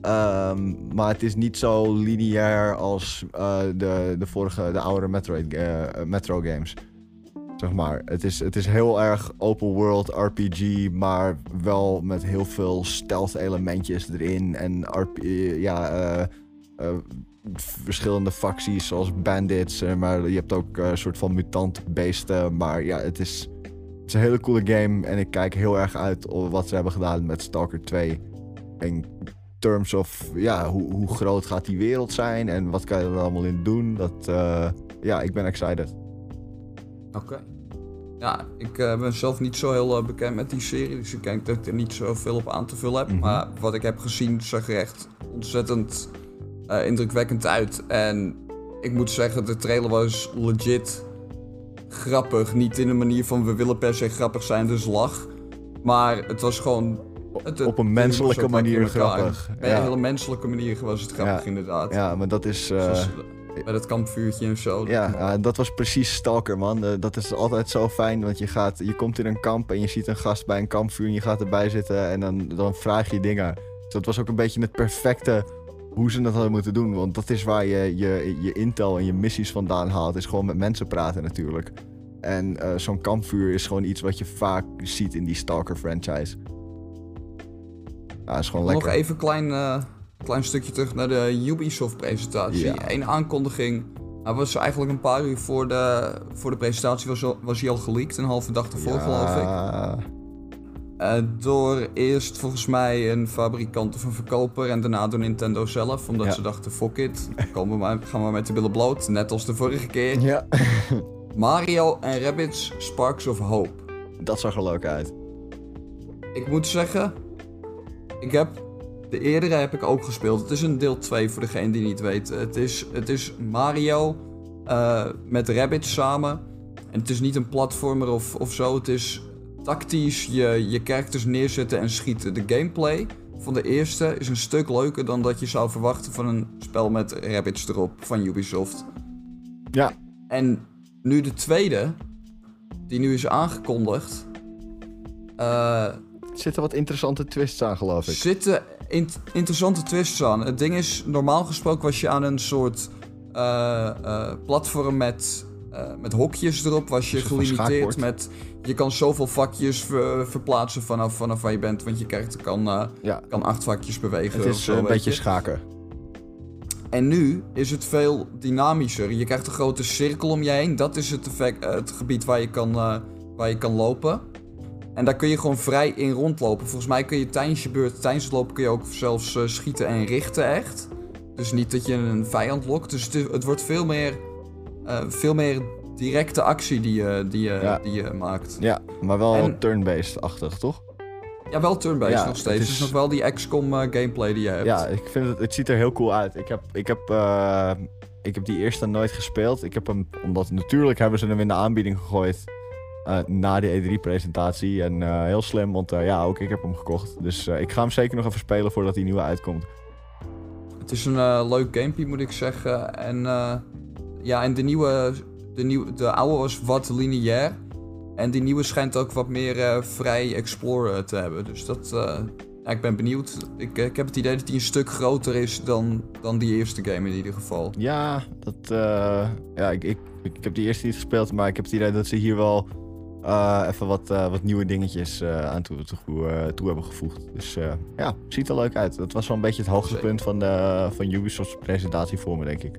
[SPEAKER 4] ehm, maar het is niet zo lineair als eh, de, de vorige, de oude Metroid, eh, Metro games zeg maar. Het is, het is heel erg open world RPG, maar wel met heel veel stealth elementjes erin. En RP, eh, ja, eh, eh, v- verschillende facties zoals bandits, eh, maar je hebt ook eh, een soort van mutant beesten. Maar ja, het is, het is een hele coole game en ik kijk heel erg uit op wat ze hebben gedaan met Stalker 2. In terms of, ja, hoe, hoe groot gaat die wereld zijn en wat kan je er allemaal in doen. Dat, eh, ja, ik ben excited.
[SPEAKER 3] Oké. Ja, ik eh, ben zelf niet zo heel eh, bekend met die serie, dus ik denk dat ik er niet zoveel op aan te vullen heb.
[SPEAKER 4] Mhm.
[SPEAKER 3] Maar wat ik heb gezien zag er echt ontzettend eh, indrukwekkend uit. En ik moet zeggen, de trailer was legit grappig. Niet in de manier van we willen per se grappig zijn, dus lach. Maar het was gewoon... het- het-
[SPEAKER 4] op een menselijke
[SPEAKER 3] het was lekker
[SPEAKER 4] manier
[SPEAKER 3] in elkaar.
[SPEAKER 4] grappig.
[SPEAKER 3] Op een
[SPEAKER 4] Ja.
[SPEAKER 3] hele menselijke manier was het grappig,
[SPEAKER 4] Ja.
[SPEAKER 3] inderdaad.
[SPEAKER 4] Ja, maar dat is. eh,
[SPEAKER 3] Zoals, eh, bij dat kampvuurtje en zo.
[SPEAKER 4] ja, eh, dat was precies Stalker, man. Eh, dat is altijd zo fijn, want je, gaat, je komt in een kamp en je ziet een gast bij een kampvuur en je gaat erbij zitten en dan, dan vraag je dingen. Dus dat was ook een beetje het perfecte hoe ze dat hadden moeten doen. Want dat is waar je je, je intel en je missies vandaan haalt, is gewoon met mensen praten natuurlijk. En eh, zo'n kampvuur is gewoon iets wat je vaak ziet in die Stalker franchise. Ja, is gewoon lekker.
[SPEAKER 3] Nog even een klein, eh, klein stukje terug naar de Ubisoft-presentatie.
[SPEAKER 4] Ja.
[SPEAKER 3] Eén aankondiging. Hij was eigenlijk een paar uur voor de, voor de presentatie was, al- was hij al geleakt. Een halve dag ervoor, geloof ik.
[SPEAKER 4] Ja.
[SPEAKER 3] Eh, door eerst volgens mij een fabrikant of een verkoper en daarna door Nintendo zelf. Omdat
[SPEAKER 4] Ja.
[SPEAKER 3] ze dachten, fuck it, komen we maar, gaan we met de billen bloot. Net als de vorige keer.
[SPEAKER 4] Ja.
[SPEAKER 3] Mario en Rabbids Sparks of Hope.
[SPEAKER 4] dat zag er leuk uit.
[SPEAKER 3] Ik moet zeggen, ik heb de eerdere heb ik ook gespeeld. Het is een deel 2 voor degene die niet weet. Het is, het is Mario eh, met Rabbit samen. En het is niet een platformer of, of zo. Het is tactisch je, je characters neerzetten en schieten. De gameplay van de eerste is een stuk leuker dan dat je zou verwachten van een spel met Rabbits erop van Ubisoft.
[SPEAKER 4] Ja,
[SPEAKER 3] En nu de tweede, die nu is aangekondigd. eh,
[SPEAKER 4] Er zitten wat interessante twists aan, geloof ik.
[SPEAKER 3] zitten in- interessante twists aan. Het ding is, normaal gesproken was je aan een soort eh, eh, platform met, eh, met hokjes erop. Was je
[SPEAKER 4] Een soort van
[SPEAKER 3] gelimiteerd
[SPEAKER 4] schaakbord.
[SPEAKER 3] met... Je kan zoveel vakjes ver- verplaatsen vanaf, vanaf waar je bent. Want je character kan, eh,
[SPEAKER 4] Ja,
[SPEAKER 3] kan acht vakjes bewegen.
[SPEAKER 4] het
[SPEAKER 3] of
[SPEAKER 4] is
[SPEAKER 3] zo,
[SPEAKER 4] eh, een
[SPEAKER 3] weet
[SPEAKER 4] beetje
[SPEAKER 3] je.
[SPEAKER 4] schaken.
[SPEAKER 3] En nu is het veel dynamischer. Je krijgt een grote cirkel om je heen. Dat is het, effect, eh, het gebied waar je, kan, eh, waar je kan lopen. En daar kun je gewoon vrij in rondlopen. Volgens mij kun je tijdens je beurt, tijdens het lopen, kun je ook zelfs eh, schieten en richten echt. Dus niet dat je een vijand lokt. Dus het, het wordt veel meer, eh, veel meer directe actie die je, die je,
[SPEAKER 4] Ja.
[SPEAKER 3] die je maakt.
[SPEAKER 4] Ja, maar wel
[SPEAKER 3] En-
[SPEAKER 4] turn-based-achtig, toch?
[SPEAKER 3] Ja, wel turn-based
[SPEAKER 4] Ja,
[SPEAKER 3] nog steeds.
[SPEAKER 4] het
[SPEAKER 3] Het
[SPEAKER 4] is-
[SPEAKER 3] is... nog wel die XCOM eh, gameplay die je hebt.
[SPEAKER 4] Ja, ik vind het, het ziet er heel cool uit. Ik heb, ik, heb, eh, ik heb die eerste nooit gespeeld. Ik heb hem, omdat natuurlijk hebben ze hem in de aanbieding gegooid eh, na de E3-presentatie. En eh, heel slim, want eh, ja, ook ik heb hem gekocht. Dus eh, ik ga hem zeker nog even spelen voordat die nieuwe uitkomt.
[SPEAKER 3] Het is een eh, leuk gamepje, moet ik zeggen. En, eh, ja, en de nieuwe, de nieuwe, de oude was wat lineair. En die nieuwe schijnt ook wat meer eh, vrij exploren te hebben. Dus dat, eh, ja, ik ben benieuwd. Ik, eh, ik heb het idee dat die een stuk groter is dan, dan die eerste game in ieder geval.
[SPEAKER 4] Ja, dat, eh, ja ik, ik, ik heb die eerste niet gespeeld, maar ik heb het idee dat ze hier wel eh, even wat, eh, wat nieuwe dingetjes eh, aan toe, toe, eh, toe hebben gevoegd. Dus eh, ja, ziet er leuk uit. Dat was wel een beetje het hoogtepunt van, de, van Ubisoft's presentatie voor me, denk ik.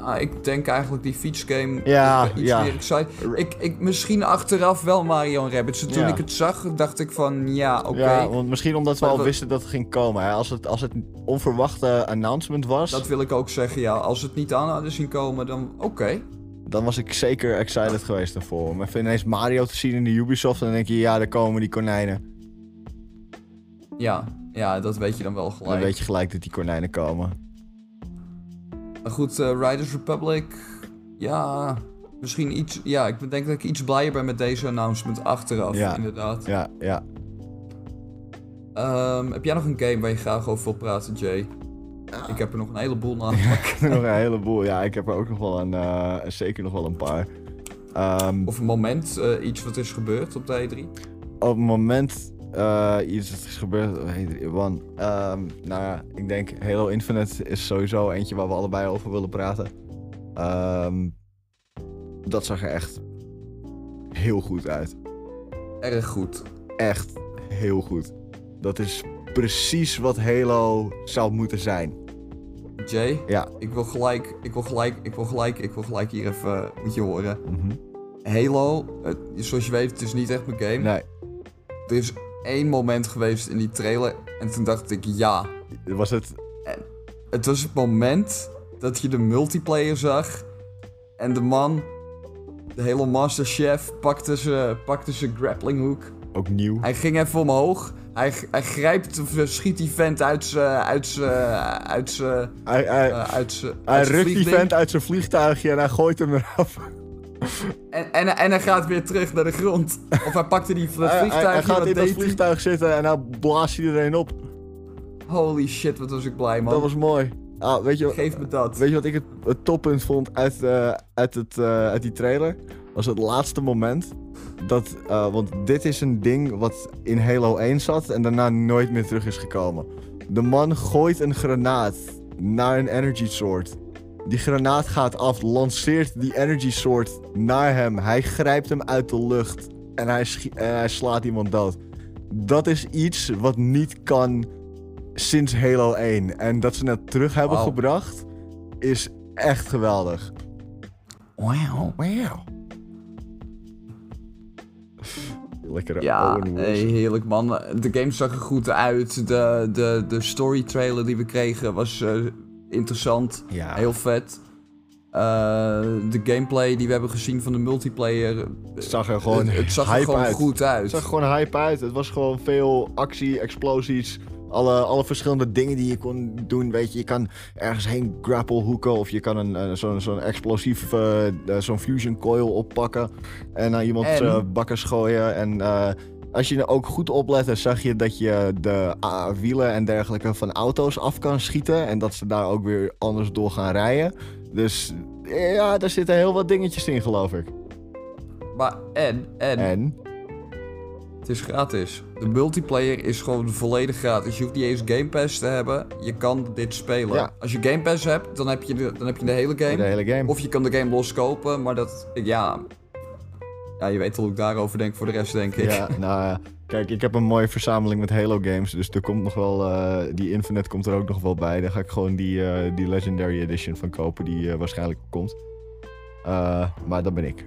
[SPEAKER 3] Ah, ik denk eigenlijk die fietsgame
[SPEAKER 4] Ja,
[SPEAKER 3] is wel iets
[SPEAKER 4] ja.
[SPEAKER 3] meer excited. Ik, ik, misschien achteraf wel Mario en Rabbids. En Toen
[SPEAKER 4] Ja.
[SPEAKER 3] ik het zag, dacht ik van ja, oké.
[SPEAKER 4] Ja, want misschien omdat we
[SPEAKER 3] Maar
[SPEAKER 4] al
[SPEAKER 3] we-
[SPEAKER 4] wisten dat het ging komen. Hè? Als, het, als het een onverwachte announcement was,
[SPEAKER 3] Dat wil ik ook zeggen, ja. Als het niet aan hadden zien komen, dan oké.
[SPEAKER 4] dan was ik zeker excited geweest ervoor. Om even ineens Mario te zien in de Ubisoft, dan denk je, ja, daar komen die konijnen.
[SPEAKER 3] Ja, ja, dat weet je dan wel gelijk.
[SPEAKER 4] Dan weet je gelijk dat die konijnen komen.
[SPEAKER 3] Maar goed, eh, Riders Republic. Ja. misschien iets... Ja, ik denk dat ik iets blijer ben met deze announcement achteraf,
[SPEAKER 4] Ja.
[SPEAKER 3] inderdaad.
[SPEAKER 4] Ja, ja.
[SPEAKER 3] Ehm, heb jij nog een game waar je graag over wil praten, Jay? Ik heb er nog een heleboel na.
[SPEAKER 4] Ik heb er nog een heleboel. Ja, ik heb er ook nog wel een, eh, zeker nog wel een paar. Ehm,
[SPEAKER 3] Of een moment, eh, iets wat is gebeurd op de E E3.
[SPEAKER 4] op het moment eh, iets dat is gebeurd, oh, hey, drie- man. Ehm, nou ja, ik denk Halo Infinite is sowieso eentje waar we allebei over willen praten. Ehm, dat zag er echt heel goed uit.
[SPEAKER 3] Erg goed.
[SPEAKER 4] Echt heel goed. Dat is precies wat Halo zou moeten zijn.
[SPEAKER 3] Jay,
[SPEAKER 4] Ja.
[SPEAKER 3] ik wil gelijk, ik wil gelijk, ik wil gelijk, ik wil gelijk hier even, eh, moet je horen.
[SPEAKER 4] Mhm.
[SPEAKER 3] Halo, eh, zoals je weet, het is niet echt mijn game.
[SPEAKER 4] Nee,
[SPEAKER 3] Er is één moment geweest in die trailer en toen dacht ik ja.
[SPEAKER 4] was het
[SPEAKER 3] Het was het moment dat je de multiplayer zag en de man, de hele masterchef, pakte zijn pakte zijn grapplinghoek.
[SPEAKER 4] ook nieuw?
[SPEAKER 3] Hij ging even omhoog. Hij, hij grijpt of eh, schiet die vent uit zijn uit zijn uit zijn
[SPEAKER 4] Hij, hij,
[SPEAKER 3] eh, uit zijn
[SPEAKER 4] hij
[SPEAKER 3] uit zijn
[SPEAKER 4] rukt die
[SPEAKER 3] vliegding.
[SPEAKER 4] vent uit zijn vliegtuigje en hij gooit hem eraf.
[SPEAKER 3] En, en, en hij gaat weer terug naar de grond. Of hij pakte die vliegtuig.
[SPEAKER 4] Hij, hij, hij gaat in dat
[SPEAKER 3] deed hij.
[SPEAKER 4] vliegtuig zitten en hij blaast iedereen op.
[SPEAKER 3] Holy shit, wat was ik blij, man.
[SPEAKER 4] Dat was mooi. Ah, weet, je,
[SPEAKER 3] Geef me dat.
[SPEAKER 4] weet je wat ik het, het toppunt vond uit, eh, uit, het, eh, uit die trailer? Was het laatste moment. Dat, eh, want dit is een ding wat in Halo 1 zat en daarna nooit meer terug is gekomen. De man gooit een granaat naar een energy sword. Die granaat gaat af, lanceert die energy sword naar hem. Hij grijpt hem uit de lucht en hij, schie- en hij slaat iemand dood. Dat is iets wat niet kan sinds Halo 1. En dat ze het terug hebben
[SPEAKER 3] Wauw.
[SPEAKER 4] gebracht is echt geweldig.
[SPEAKER 3] Wauw.
[SPEAKER 4] Wow. Lekkere
[SPEAKER 3] Ja, eh,
[SPEAKER 4] Owen
[SPEAKER 3] hey,
[SPEAKER 4] Wilson.
[SPEAKER 3] heerlijk man. De game zag er goed uit. De, de, de story trailer die we kregen was eh, interessant.
[SPEAKER 4] Ja.
[SPEAKER 3] Heel vet. Eh, de gameplay die we hebben gezien van de multiplayer. eh,
[SPEAKER 4] Het zag er gewoon
[SPEAKER 3] het, het zag er
[SPEAKER 4] hype
[SPEAKER 3] gewoon
[SPEAKER 4] uit.
[SPEAKER 3] goed uit.
[SPEAKER 4] Het zag er gewoon hype uit. Het was gewoon veel actie, explosies. Alle, alle verschillende dingen die je kon doen. Weet je, je kan ergens heen grapple hoeken. Of je kan een, eh, zo'n, zo'n explosief, eh, eh, zo'n fusion coil oppakken. En aan iemand
[SPEAKER 3] En?
[SPEAKER 4] eh, bakken gooien. En eh, als je er ook goed oplette, zag je dat je de ah, wielen en dergelijke van auto's af kan schieten. En dat ze daar ook weer anders door gaan rijden. Dus eh, ja, daar zitten heel wat dingetjes in, geloof ik.
[SPEAKER 3] Maar en, en,
[SPEAKER 4] En?
[SPEAKER 3] het is gratis. De multiplayer is gewoon volledig gratis. Je hoeft niet eens Game Pass te hebben. Je kan dit spelen.
[SPEAKER 4] Ja.
[SPEAKER 3] Als je Game Pass hebt, dan heb je de, dan heb je de hele game.
[SPEAKER 4] De hele game.
[SPEAKER 3] Of je kan de game loskopen, maar dat, ja... Ja, je weet wel hoe ik daarover denk voor de rest, denk ik.
[SPEAKER 4] Ja, nou ja. Kijk, ik heb een mooie verzameling met Halo games. Dus er komt nog wel. eh, die Infinite komt er ook nog wel bij. Daar ga ik gewoon die, eh, die Legendary Edition van kopen, die eh, waarschijnlijk komt. Eh, maar dat ben ik.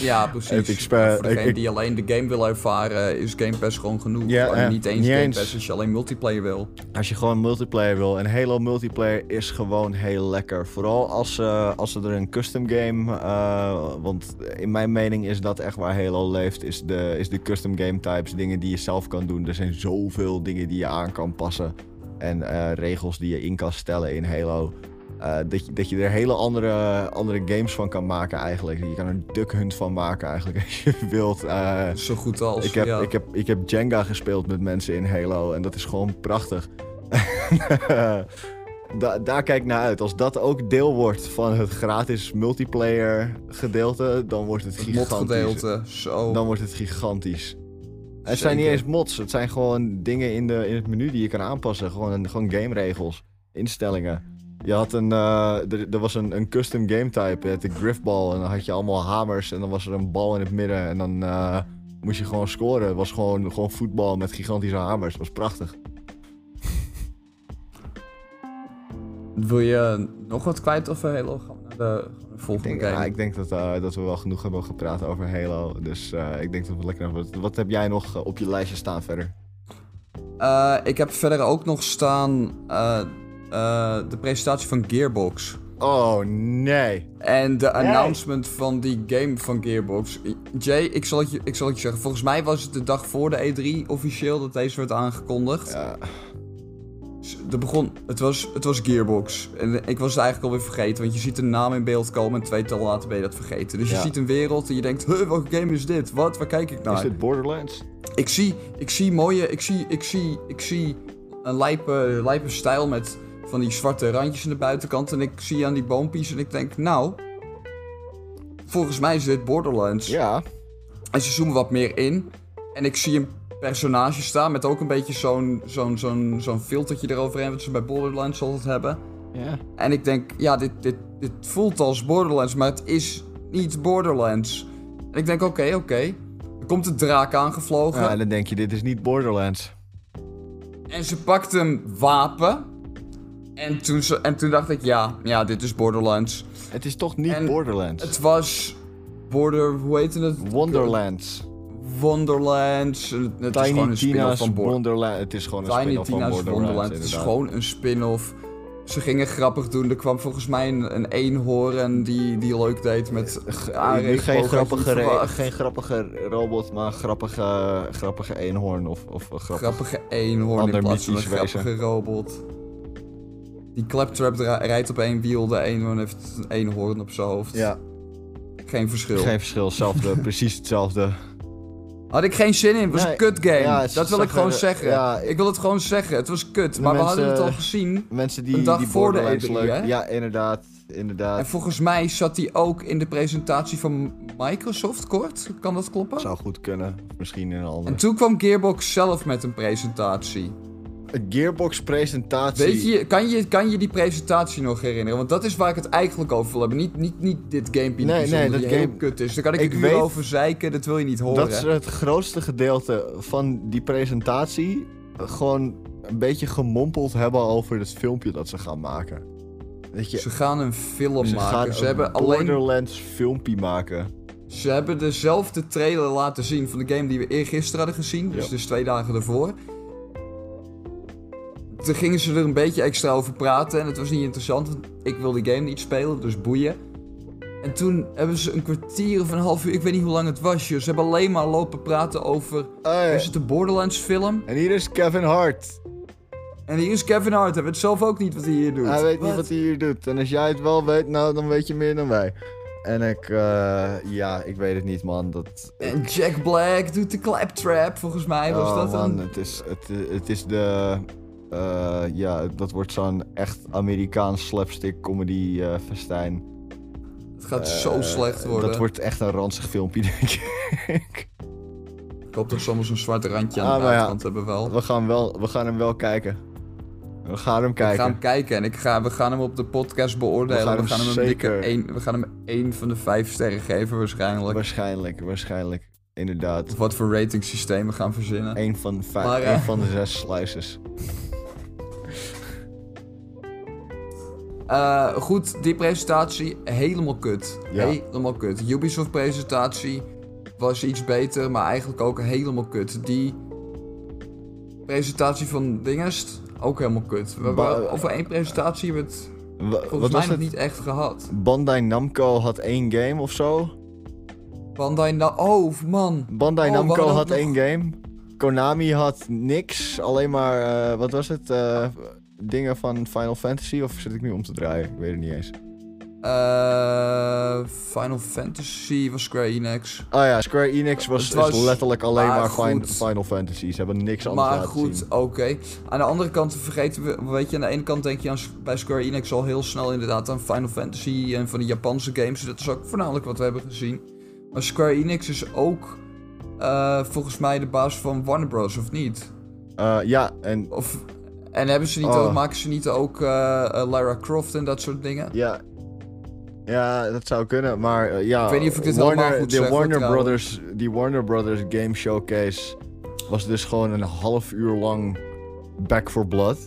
[SPEAKER 3] Ja, precies.
[SPEAKER 4] Epic Spa-
[SPEAKER 3] voor degene
[SPEAKER 4] ik- ik-
[SPEAKER 3] die alleen de game wil ervaren, is Game Pass gewoon genoeg.
[SPEAKER 4] Ja,
[SPEAKER 3] Maar
[SPEAKER 4] ja,
[SPEAKER 3] niet eens
[SPEAKER 4] niet
[SPEAKER 3] Game
[SPEAKER 4] eens.
[SPEAKER 3] Pass als je alleen multiplayer wil.
[SPEAKER 4] Als je gewoon multiplayer wil. En Halo multiplayer is gewoon heel lekker. Vooral als, ze als ze er een custom game. eh, want in mijn mening is dat echt waar Halo leeft. Is de, is de custom game types. Dingen die je zelf kan doen. Er zijn zoveel dingen die je aan kan passen. En eh, regels die je in kan stellen in Halo. Eh, dat, je, dat je er hele andere, andere games van kan maken eigenlijk. Je kan er Duck Hunt van maken eigenlijk als je wilt. Eh,
[SPEAKER 3] Zo goed als,
[SPEAKER 4] ik heb,
[SPEAKER 3] ja.
[SPEAKER 4] ik, heb, ik heb Jenga gespeeld met mensen in Halo en dat is gewoon prachtig. da daar kijk ik naar uit. Als dat ook deel wordt van het gratis multiplayer gedeelte, dan wordt het
[SPEAKER 3] het
[SPEAKER 4] gigantisch.
[SPEAKER 3] modgedeelte, zo.
[SPEAKER 4] Dan wordt het gigantisch. Het
[SPEAKER 3] Zeker.
[SPEAKER 4] zijn niet eens mods, het zijn gewoon dingen in, de, in het menu die je kan aanpassen. Gewoon, gewoon gameregels, instellingen. Je had een, eh, er, er was een, een custom game type, je had de griffball en dan had je allemaal hamers en dan was er een bal in het midden en dan eh, moest je gewoon scoren. Het was gewoon, gewoon voetbal met gigantische hamers, het was prachtig.
[SPEAKER 3] Wil je nog wat kwijt eh, over Halo? Gaan we naar de, gaan we naar de
[SPEAKER 4] Ik
[SPEAKER 3] volgende
[SPEAKER 4] denk,
[SPEAKER 3] game.
[SPEAKER 4] ja, ik denk dat, eh, dat we wel genoeg hebben gepraat over Halo, dus eh, ik denk dat we lekker... Wat, wat heb jij nog eh, op je lijstje staan verder?
[SPEAKER 3] Eh, ik heb verder ook nog staan eh, eh, de presentatie van Gearbox.
[SPEAKER 4] Oh nee!
[SPEAKER 3] En de announcement van die game van Gearbox. Jay, ik zal, het je, ik zal het je zeggen. Volgens E mij was het de dag voor de E3 officieel dat deze werd aangekondigd.
[SPEAKER 4] Ja.
[SPEAKER 3] S- er begon, het, was, het was Gearbox. En ik was het eigenlijk alweer vergeten, want je ziet een naam in beeld komen en twee tal later ben je dat vergeten. Dus je
[SPEAKER 4] Ja.
[SPEAKER 3] ziet een wereld en je denkt, huh, welke game is dit? Wat, waar kijk ik naar?
[SPEAKER 4] Is dit Borderlands?
[SPEAKER 3] Ik zie, ik zie mooie, ik zie, ik zie, ik zie een lijpe, lijpe stijl met van die zwarte randjes aan de buitenkant. En ik zie aan die boompies en ik denk, nou, volgens mij is dit Borderlands.
[SPEAKER 4] Ja.
[SPEAKER 3] En ze zoomen wat meer in. En ik zie een personage staan met ook een beetje zo'n zo'n zo'n zo'n filtertje eroverheen, wat ze bij Borderlands altijd hebben.
[SPEAKER 4] Ja.
[SPEAKER 3] En ik denk, ja, dit, dit, dit voelt als Borderlands, maar het is niet Borderlands. En ik denk, oké, oké. Er komt een draak aangevlogen.
[SPEAKER 4] Eh, en dan denk je, dit is niet Borderlands.
[SPEAKER 3] En ze pakt een wapen. En toen, ze, en toen dacht ik, ja, ja, dit is Borderlands.
[SPEAKER 4] Het is toch niet
[SPEAKER 3] En
[SPEAKER 4] Borderlands?
[SPEAKER 3] Het was Border, hoe heette het?
[SPEAKER 4] Wonderlands.
[SPEAKER 3] Wonderlands. En Het het is gewoon
[SPEAKER 4] Tiny
[SPEAKER 3] een spin-off
[SPEAKER 4] Tina's
[SPEAKER 3] van Borderlands.
[SPEAKER 4] Wonderland. Het is gewoon een
[SPEAKER 3] Tiny
[SPEAKER 4] spin-off van
[SPEAKER 3] Tina's
[SPEAKER 4] Borderlands.
[SPEAKER 3] Wonderland. Het is
[SPEAKER 4] inderdaad.
[SPEAKER 3] gewoon een spin-off. Ze gingen grappig doen. Er kwam volgens mij een, een eenhoorn die, die leuk deed met
[SPEAKER 4] nu geen
[SPEAKER 3] regenboog,
[SPEAKER 4] grappige,
[SPEAKER 3] had je niet
[SPEAKER 4] re-
[SPEAKER 3] verwacht.
[SPEAKER 4] geen grappige robot, maar grappige, grappige eenhoorn of, of een grappig.
[SPEAKER 3] grappige eenhoorn in
[SPEAKER 4] Ander
[SPEAKER 3] plaats van een
[SPEAKER 4] mythisch wezen.
[SPEAKER 3] grappige robot. Die claptrap dra- rijdt op één wiel, de eenhoorn heeft een eenhoorn op zijn hoofd.
[SPEAKER 4] Ja,
[SPEAKER 3] Geen verschil.
[SPEAKER 4] geen verschil. Hetzelfde, precies hetzelfde.
[SPEAKER 3] Had ik geen zin in, het was
[SPEAKER 4] Nee.
[SPEAKER 3] een kut game.
[SPEAKER 4] Ja, het
[SPEAKER 3] dat wil
[SPEAKER 4] zag
[SPEAKER 3] ik gewoon
[SPEAKER 4] er-
[SPEAKER 3] zeggen.
[SPEAKER 4] ja,
[SPEAKER 3] ik... wil het gewoon zeggen, het was kut. Maar we
[SPEAKER 4] mensen-
[SPEAKER 3] hadden het al gezien.
[SPEAKER 4] Mensen die,
[SPEAKER 3] Een dag
[SPEAKER 4] die
[SPEAKER 3] voor de
[SPEAKER 4] Borderlands
[SPEAKER 3] E3,
[SPEAKER 4] leuk.
[SPEAKER 3] hè?
[SPEAKER 4] Ja, inderdaad. Inderdaad.
[SPEAKER 3] En volgens mij zat die ook in de presentatie van Microsoft kort. Kan dat kloppen?
[SPEAKER 4] Zou goed kunnen. Misschien in een ander.
[SPEAKER 3] En toen kwam Gearbox zelf met een presentatie.
[SPEAKER 4] Een Gearbox presentatie.
[SPEAKER 3] Weet je, kan je, kan je die presentatie nog herinneren? Want dat is waar ik het eigenlijk over wil hebben. Niet, niet, niet dit gamepje
[SPEAKER 4] Nee,
[SPEAKER 3] nee, nee,
[SPEAKER 4] nee,
[SPEAKER 3] dat
[SPEAKER 4] dat
[SPEAKER 3] die
[SPEAKER 4] game-
[SPEAKER 3] heel kut is. Daar kan ik,
[SPEAKER 4] Ik
[SPEAKER 3] een uur
[SPEAKER 4] weet-
[SPEAKER 3] over zeiken, dat wil je niet horen.
[SPEAKER 4] Dat is het grootste gedeelte van die presentatie. Gewoon een beetje gemompeld hebben over het filmpje dat ze gaan maken. Weet je,
[SPEAKER 3] Ze gaan een film
[SPEAKER 4] ze gaan
[SPEAKER 3] maken. Ze
[SPEAKER 4] een
[SPEAKER 3] hebben, alleen,
[SPEAKER 4] Borderlands filmpje maken.
[SPEAKER 3] ze hebben dezelfde trailer laten zien van de game die we eergisteren hadden gezien. Dus
[SPEAKER 4] Ja.
[SPEAKER 3] dus twee dagen ervoor. Toen gingen ze er een beetje extra over praten en het was niet interessant. Want ik wil die game niet spelen, dus boeien. En toen hebben ze een kwartier of een half uur, ik weet niet hoe lang het was. joh. Ze hebben alleen maar lopen praten over
[SPEAKER 4] Hey,
[SPEAKER 3] Is het een Borderlands film?
[SPEAKER 4] En hier is Kevin Hart.
[SPEAKER 3] En hier is Kevin Hart. Hij weet zelf ook niet wat hij hier doet.
[SPEAKER 4] Hij weet niet wat hij hier doet. En als jij het wel weet, nou dan weet je meer dan wij. En ik, eh, ja, ik weet het niet, man. Dat,
[SPEAKER 3] En Jack Black doet de claptrap, volgens mij. Was
[SPEAKER 4] Oh,
[SPEAKER 3] dat
[SPEAKER 4] man,
[SPEAKER 3] dan?
[SPEAKER 4] Het is, het, het is de. eh, ja, dat wordt zo'n echt Amerikaans slapstick comedy eh, festijn.
[SPEAKER 3] Het gaat zo
[SPEAKER 4] Eh,
[SPEAKER 3] slecht worden.
[SPEAKER 4] Dat wordt echt een ranzig filmpje, denk ik.
[SPEAKER 3] Ik hoop dat ze allemaal zo'n zwart randje aan
[SPEAKER 4] Ah,
[SPEAKER 3] de
[SPEAKER 4] maar ja.
[SPEAKER 3] buitenkant hebben wel.
[SPEAKER 4] We gaan, wel, we gaan hem wel kijken. We gaan hem
[SPEAKER 3] We
[SPEAKER 4] kijken.
[SPEAKER 3] gaan hem kijken en ik ga, we gaan hem op de podcast beoordelen.
[SPEAKER 4] We gaan hem
[SPEAKER 3] een
[SPEAKER 4] zeker-
[SPEAKER 3] dikke één, we gaan hem één van de vijf sterren geven waarschijnlijk.
[SPEAKER 4] Waarschijnlijk, waarschijnlijk. Inderdaad.
[SPEAKER 3] Of wat voor ratingsysteem we gaan verzinnen.
[SPEAKER 4] Eén van, vijf,
[SPEAKER 3] Maar, eh,
[SPEAKER 4] één van de zes slices.
[SPEAKER 3] Eh, goed, die presentatie helemaal kut.
[SPEAKER 4] Ja.
[SPEAKER 3] Helemaal kut. Ubisoft presentatie was iets beter, maar eigenlijk ook helemaal kut. Die presentatie van Dingest ook helemaal kut. We hebben
[SPEAKER 4] Ba-
[SPEAKER 3] over één presentatie hebben we het
[SPEAKER 4] Wa-
[SPEAKER 3] volgens
[SPEAKER 4] wat
[SPEAKER 3] mij
[SPEAKER 4] was
[SPEAKER 3] nog
[SPEAKER 4] het?
[SPEAKER 3] niet echt gehad.
[SPEAKER 4] Bandai Namco had één game of zo.
[SPEAKER 3] Bandai nou, oh man.
[SPEAKER 4] Bandai
[SPEAKER 3] Oh, we
[SPEAKER 4] Namco
[SPEAKER 3] hadden ook
[SPEAKER 4] had
[SPEAKER 3] nog-
[SPEAKER 4] één game. Konami had niks. Alleen maar, eh, wat was het? Eh, dingen van Final Fantasy? Of zit ik nu om te draaien? Ik weet het niet eens.
[SPEAKER 3] Eh, Final Fantasy was Square Enix.
[SPEAKER 4] Oh ja, Square Enix was,
[SPEAKER 3] Het was-
[SPEAKER 4] is letterlijk alleen
[SPEAKER 3] maar
[SPEAKER 4] maar, fin-
[SPEAKER 3] goed.
[SPEAKER 4] Final Fantasy. Ze hebben niks anders
[SPEAKER 3] Maar
[SPEAKER 4] laten
[SPEAKER 3] goed,
[SPEAKER 4] zien.
[SPEAKER 3] oké. Aan de andere kant vergeten we, weet je, aan de ene kant denk je aan, s- bij Square Enix al heel snel inderdaad aan Final Fantasy en van de Japanse games. Dat is ook voornamelijk wat we hebben gezien. Maar Square Enix is ook eh, volgens mij de baas van Warner Bros. of niet?
[SPEAKER 4] Eh, ja, en...
[SPEAKER 3] Of, en hebben ze niet
[SPEAKER 4] Oh.
[SPEAKER 3] ook, maken ze niet ook eh, eh, Lara Croft en dat soort dingen?
[SPEAKER 4] Ja, ja dat zou kunnen. Maar eh, ja...
[SPEAKER 3] Ik weet niet of ik dit
[SPEAKER 4] Warner,
[SPEAKER 3] helemaal goed
[SPEAKER 4] de
[SPEAKER 3] zeg, hoor,
[SPEAKER 4] Warner
[SPEAKER 3] trouwens.
[SPEAKER 4] Brothers, Die Warner Brothers Game Showcase was dus gewoon een half uur lang Back for Blood.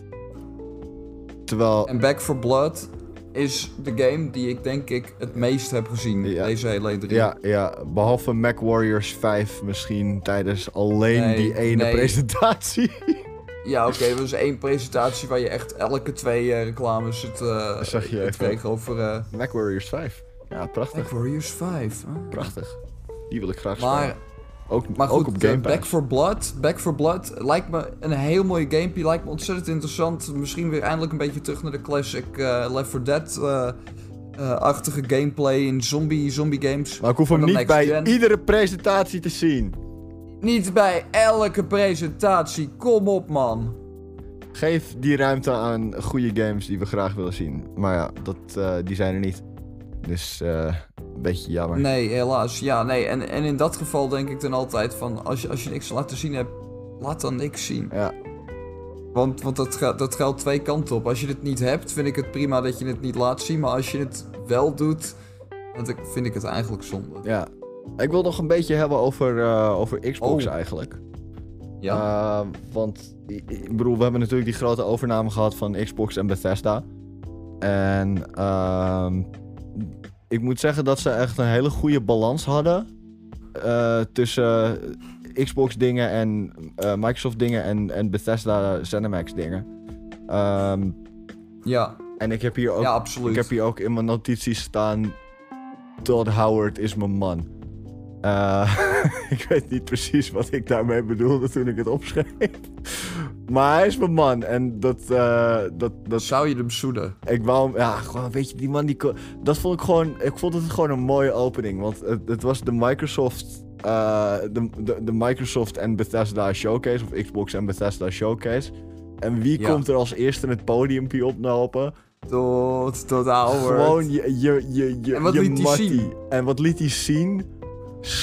[SPEAKER 4] Terwijl...
[SPEAKER 3] En Back for Blood is de game die ik denk ik het meest heb gezien.
[SPEAKER 4] Ja.
[SPEAKER 3] Deze hele drie.
[SPEAKER 4] Ja, ja, behalve Mac Warriors 5 misschien tijdens alleen
[SPEAKER 3] Nee,
[SPEAKER 4] die ene
[SPEAKER 3] nee.
[SPEAKER 4] presentatie.
[SPEAKER 3] Ja, oké, dat was één presentatie waar je echt elke twee eh, reclames het, eh,
[SPEAKER 4] Zag je
[SPEAKER 3] het
[SPEAKER 4] even.
[SPEAKER 3] kreeg over eh
[SPEAKER 4] Mac Warriors 5. Ja, prachtig,
[SPEAKER 3] Black Warriors 5. hè?
[SPEAKER 4] prachtig. Die wil ik graag spelen.
[SPEAKER 3] Maar
[SPEAKER 4] Ook,
[SPEAKER 3] Maar goed,
[SPEAKER 4] ook op
[SPEAKER 3] eh,
[SPEAKER 4] Game Pass.
[SPEAKER 3] Back for Blood. Back for Blood lijkt me een heel mooie gamepje. Lijkt me ontzettend interessant. Misschien weer eindelijk een beetje terug naar de classic eh Left 4 Dead-achtige gameplay in zombie, zombie games.
[SPEAKER 4] Maar ik hoef hem
[SPEAKER 3] Maar dan
[SPEAKER 4] niet bij
[SPEAKER 3] next gen.
[SPEAKER 4] iedere presentatie te zien.
[SPEAKER 3] Niet bij elke presentatie. Kom op, man.
[SPEAKER 4] Geef die ruimte aan goede games die we graag willen zien. Maar ja, dat, eh, die zijn er niet. Dus eh, een beetje jammer.
[SPEAKER 3] Nee, helaas. Ja, nee. En, en in dat geval denk ik dan altijd van... Als je, als je niks te laten zien hebt, laat dan niks zien.
[SPEAKER 4] Ja.
[SPEAKER 3] Want, want dat, ga- dat geldt twee kanten op. Als je het niet hebt, vind ik het prima dat je het niet laat zien. Maar als je het wel doet, dan denk- vind ik het eigenlijk zonde.
[SPEAKER 4] ja. Ik wil nog een beetje hebben over, eh, over Xbox
[SPEAKER 3] Oh.
[SPEAKER 4] eigenlijk.
[SPEAKER 3] Ja.
[SPEAKER 4] Ehm, want i- i- ik bedoel, we hebben natuurlijk die grote overname gehad van Xbox en Bethesda. En ehm, ik moet zeggen dat ze echt een hele goede balans hadden eh, tussen Xbox dingen en eh, Microsoft dingen en, en Bethesda Cinemax dingen. Ehm,
[SPEAKER 3] ja.
[SPEAKER 4] en ik heb hier ook
[SPEAKER 3] ja, absoluut.
[SPEAKER 4] ik heb hier ook in mijn notities staan. Todd Howard is mijn man. Eh, ik weet niet precies wat ik daarmee bedoelde toen ik het opschreef. Maar hij is mijn man. En dat. eh, dat, dat
[SPEAKER 3] Zou je hem zoenen?
[SPEAKER 4] ik wou hem- Ja, gewoon, weet je, die man die. ko- Dat vond ik gewoon. Ik vond het gewoon een mooie opening. Want het, het was de Microsoft. eh, de, de, de Microsoft en Bethesda Showcase. Of Xbox en Bethesda Showcase. En wie
[SPEAKER 3] Ja.
[SPEAKER 4] komt er als eerste het podiumpje oplopen?
[SPEAKER 3] Tot, tot ouder.
[SPEAKER 4] Gewoon je, je, je, je,
[SPEAKER 3] En wat
[SPEAKER 4] je
[SPEAKER 3] liet hij
[SPEAKER 4] mattie.
[SPEAKER 3] zien?
[SPEAKER 4] En wat liet hij zien?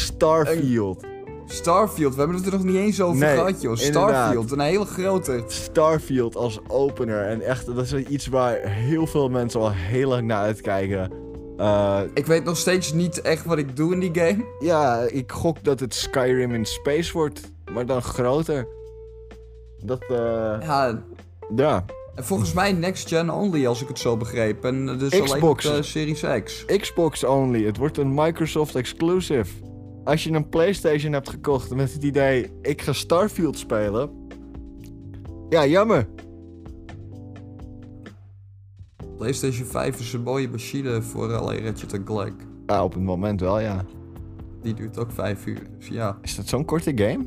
[SPEAKER 4] Starfield.
[SPEAKER 3] Starfield. We hebben het er nog niet eens over
[SPEAKER 4] Nee,
[SPEAKER 3] gehad, joh.
[SPEAKER 4] inderdaad.
[SPEAKER 3] Starfield. Een hele grote.
[SPEAKER 4] Starfield als opener. En echt, dat is iets waar heel veel mensen al heel lang naar uitkijken. Eh,
[SPEAKER 3] Ik weet nog steeds niet echt wat ik doe in die game.
[SPEAKER 4] ja, ik gok dat het Skyrim in space wordt. Maar dan groter. Dat, eh,
[SPEAKER 3] Ja,
[SPEAKER 4] ja.
[SPEAKER 3] en volgens mij next gen only, als ik het zo begreep. En eh, dus alleen op
[SPEAKER 4] Xbox.
[SPEAKER 3] eh, Series X.
[SPEAKER 4] Xbox only. Het wordt een Microsoft exclusive. Als je een PlayStation hebt gekocht met het idee, ik ga Starfield spelen. Ja, jammer.
[SPEAKER 3] PlayStation 5 is een mooie machine voor alleen Ratchet en Clank.
[SPEAKER 4] Ja, Ah, op het moment wel, ja.
[SPEAKER 3] Die duurt ook 5 uur. Dus ja,
[SPEAKER 4] Is dat zo'n korte game?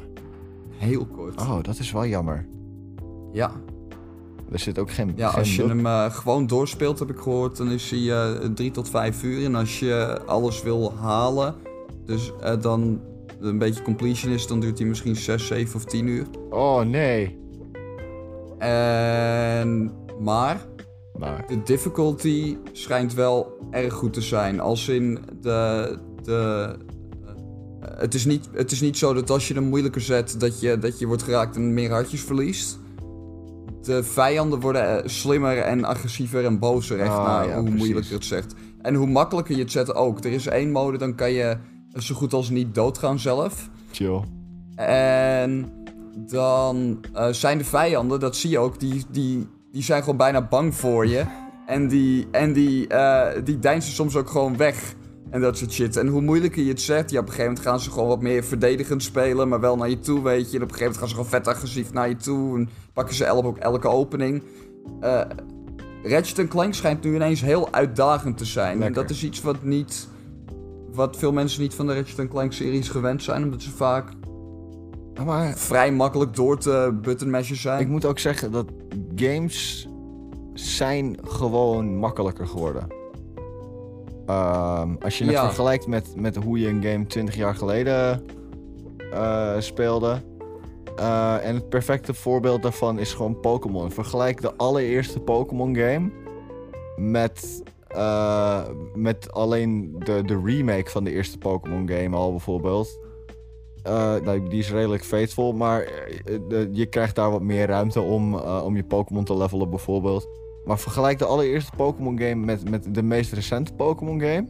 [SPEAKER 3] heel kort.
[SPEAKER 4] Oh, dat is wel jammer.
[SPEAKER 3] Ja,
[SPEAKER 4] Er zit ook geen...
[SPEAKER 3] ja
[SPEAKER 4] geen
[SPEAKER 3] als je
[SPEAKER 4] loop-
[SPEAKER 3] hem eh, gewoon doorspeelt, heb ik gehoord, dan is hij eh 3 tot 5 uur. En als je alles wil halen, dus eh, dan een beetje completion is, dan duurt hij misschien 6, 7 of 10 uur.
[SPEAKER 4] Oh, nee.
[SPEAKER 3] En... Maar
[SPEAKER 4] Maar...
[SPEAKER 3] De difficulty schijnt wel erg goed te zijn. Als in de. de eh, het, is niet, het is niet zo dat als je hem moeilijker zet, dat je, dat je wordt geraakt en meer hartjes verliest. De vijanden worden eh, slimmer en agressiever en bozer, echt
[SPEAKER 4] Ah,
[SPEAKER 3] na
[SPEAKER 4] ja,
[SPEAKER 3] hoe
[SPEAKER 4] precies.
[SPEAKER 3] moeilijker het zegt. En hoe makkelijker je het zet ook. Er is één mode, dan kan je zo goed als niet doodgaan zelf.
[SPEAKER 4] Chill.
[SPEAKER 3] En dan eh, zijn de vijanden, dat zie je ook, die, die, die zijn gewoon bijna bang voor je. En die, en die, eh die deinzen soms ook gewoon weg. En dat soort shit. En hoe moeilijker je het zet, ja, op een gegeven moment gaan ze gewoon wat meer verdedigend spelen, maar wel naar je toe, weet je. En op een gegeven moment gaan ze gewoon vet agressief naar je toe en pakken ze elk, elke opening. Eh Ratchet Clank schijnt nu ineens heel uitdagend te zijn. En
[SPEAKER 4] Lekker.
[SPEAKER 3] dat is iets wat niet... Wat veel mensen niet van de Ratchet Clank-series gewend zijn, omdat ze vaak
[SPEAKER 4] Ah, Maar
[SPEAKER 3] vrij makkelijk door te buttonmashen zijn.
[SPEAKER 4] ik moet ook zeggen dat games zijn gewoon makkelijker geworden. Ehm, als je het
[SPEAKER 3] Ja.
[SPEAKER 4] vergelijkt met, met hoe je een game 20 jaar geleden eh, speelde. Eh, en het perfecte voorbeeld daarvan is gewoon Pokémon. Vergelijk de allereerste Pokémon game met, eh, met alleen de, de remake van de eerste Pokémon game al bijvoorbeeld. Eh, nou, die is redelijk faithful, maar eh, eh, de- je krijgt daar wat meer ruimte om, eh, om je Pokémon te levelen bijvoorbeeld. Maar vergelijk de allereerste Pokémon game met, met de meest recente Pokémon game.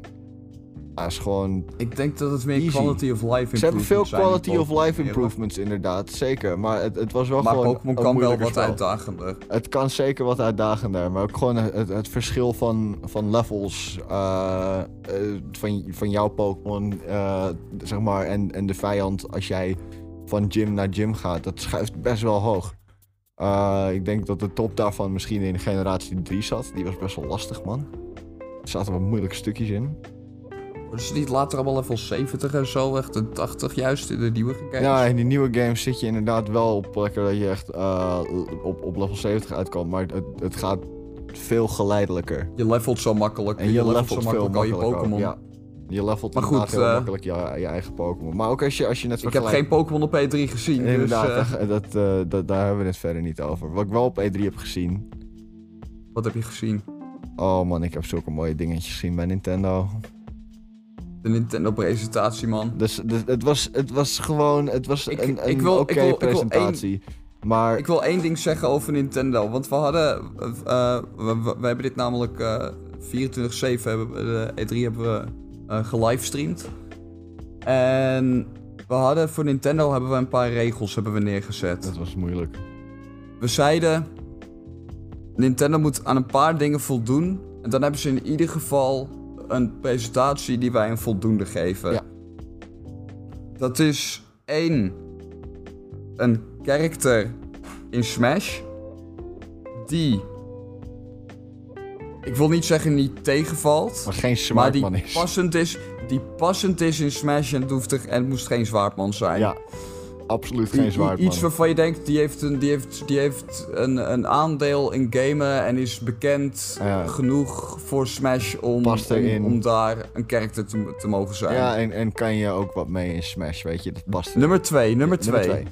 [SPEAKER 4] Dat is gewoon
[SPEAKER 3] Ik denk dat het meer
[SPEAKER 4] Easy.
[SPEAKER 3] quality of life improvements
[SPEAKER 4] ze hebben veel
[SPEAKER 3] zijn
[SPEAKER 4] quality
[SPEAKER 3] dan
[SPEAKER 4] of
[SPEAKER 3] Pokémon,
[SPEAKER 4] life
[SPEAKER 3] eerlijk.
[SPEAKER 4] improvements, inderdaad, zeker. Maar het, het was wel
[SPEAKER 3] Maar
[SPEAKER 4] gewoon.
[SPEAKER 3] Pokémon
[SPEAKER 4] een
[SPEAKER 3] kan wel
[SPEAKER 4] moeilijker
[SPEAKER 3] wat
[SPEAKER 4] spel.
[SPEAKER 3] uitdagender.
[SPEAKER 4] Het kan zeker wat uitdagender, maar ook gewoon het, het verschil van, van levels eh, eh, van, van jouw Pokémon, eh, zeg maar, en, en de vijand als jij van gym naar gym gaat, dat schuift best wel hoog. Eh, ik denk dat de top daarvan misschien in generatie 3 zat. Die was best wel lastig, man. Er zaten wat moeilijke stukjes in.
[SPEAKER 3] Worden ze niet later allemaal level 70 en zo, echt een 80 juist in de nieuwe games?
[SPEAKER 4] Ja, in die nieuwe games zit je inderdaad wel op plekken dat je echt eh, op, op level 70 uitkomt. Maar het, het gaat veel geleidelijker.
[SPEAKER 3] Je levelt zo makkelijk.
[SPEAKER 4] En je, levelt,
[SPEAKER 3] zo
[SPEAKER 4] veel
[SPEAKER 3] makkelijk al je
[SPEAKER 4] makkelijker.
[SPEAKER 3] Pokémon.
[SPEAKER 4] Ja. Je levelt
[SPEAKER 3] Maar
[SPEAKER 4] maar
[SPEAKER 3] goed,
[SPEAKER 4] goed, heel
[SPEAKER 3] eh,
[SPEAKER 4] makkelijk je, je eigen Pokémon. Maar ook als je, als je net
[SPEAKER 3] Ik heb
[SPEAKER 4] vergelijkt...
[SPEAKER 3] geen Pokémon op E3 gezien, dus
[SPEAKER 4] Inderdaad,
[SPEAKER 3] eh,
[SPEAKER 4] daar- dat, eh, dat, daar hebben we het verder niet over. Wat ik wel op E3 heb gezien...
[SPEAKER 3] wat heb je gezien?
[SPEAKER 4] Oh man, ik heb zulke mooie dingetjes gezien bij Nintendo.
[SPEAKER 3] De Nintendo-presentatie, man.
[SPEAKER 4] Dus, dus het, was, het was gewoon... Het was
[SPEAKER 3] Ik-
[SPEAKER 4] een, een
[SPEAKER 3] ik wil- ik
[SPEAKER 4] oké
[SPEAKER 3] wil- ik wil één-
[SPEAKER 4] presentatie. Maar...
[SPEAKER 3] Ik wil één ding zeggen over Nintendo, want we hadden... eh, eh, we, we- we hebben dit namelijk eh 24-7, hebben we- de E3 hebben we eh gelivestreamd. En we hadden voor Nintendo hebben we een paar regels hebben we neergezet.
[SPEAKER 4] Dat was moeilijk.
[SPEAKER 3] We zeiden. Nintendo moet aan een paar dingen voldoen. En dan hebben ze in ieder geval een presentatie die wij een voldoende geven.
[SPEAKER 4] Ja.
[SPEAKER 3] Dat is één. Een character in Smash. Die. Ik wil niet zeggen niet tegenvalt.
[SPEAKER 4] Maar geen
[SPEAKER 3] maar die
[SPEAKER 4] smartman is.
[SPEAKER 3] passend is. Die passend is in Smash en het, hoeft er- en het moest geen zwaardman zijn.
[SPEAKER 4] Ja, absoluut
[SPEAKER 3] I-
[SPEAKER 4] geen
[SPEAKER 3] i-
[SPEAKER 4] zwaardman.
[SPEAKER 3] Iets waarvan je denkt, die heeft een, die heeft, die heeft een, een aandeel in gamen en is bekend
[SPEAKER 4] Ja.
[SPEAKER 3] genoeg voor Smash om,
[SPEAKER 4] Past
[SPEAKER 3] om,
[SPEAKER 4] erin.
[SPEAKER 3] om daar een karakter te, te mogen zijn.
[SPEAKER 4] Ja, en, en kan je ook wat mee in Smash, weet je? Dat past er.
[SPEAKER 3] Nummer 2, nummer 2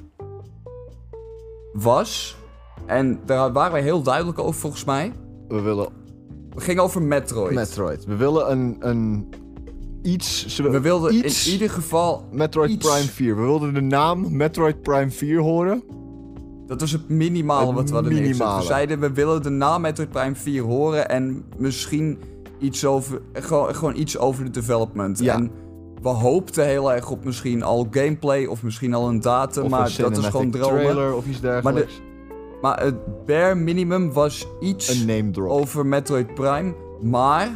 [SPEAKER 3] was, en daar waren we heel duidelijk over volgens mij,
[SPEAKER 4] We willen
[SPEAKER 3] het ging over Metroid.
[SPEAKER 4] Metroid. We willen een, een iets... zullen
[SPEAKER 3] We wilden
[SPEAKER 4] iets,
[SPEAKER 3] in ieder geval,
[SPEAKER 4] Metroid
[SPEAKER 3] iets.
[SPEAKER 4] Prime 4. We wilden de naam Metroid Prime 4 horen.
[SPEAKER 3] dat was het minimale
[SPEAKER 4] Het
[SPEAKER 3] wat we hadden neergezet. We
[SPEAKER 4] minimale.
[SPEAKER 3] zeiden, we willen de naam Metroid Prime 4 horen en misschien iets over, gewoon, gewoon iets over de development.
[SPEAKER 4] Ja.
[SPEAKER 3] En we hoopten heel erg op misschien al gameplay of misschien al een datum,
[SPEAKER 4] Of
[SPEAKER 3] maar
[SPEAKER 4] een
[SPEAKER 3] dat is gewoon
[SPEAKER 4] cinematic
[SPEAKER 3] dromen.
[SPEAKER 4] trailer of iets dergelijks.
[SPEAKER 3] Maar het bare minimum was iets
[SPEAKER 4] Een name drop.
[SPEAKER 3] over Metroid Prime, maar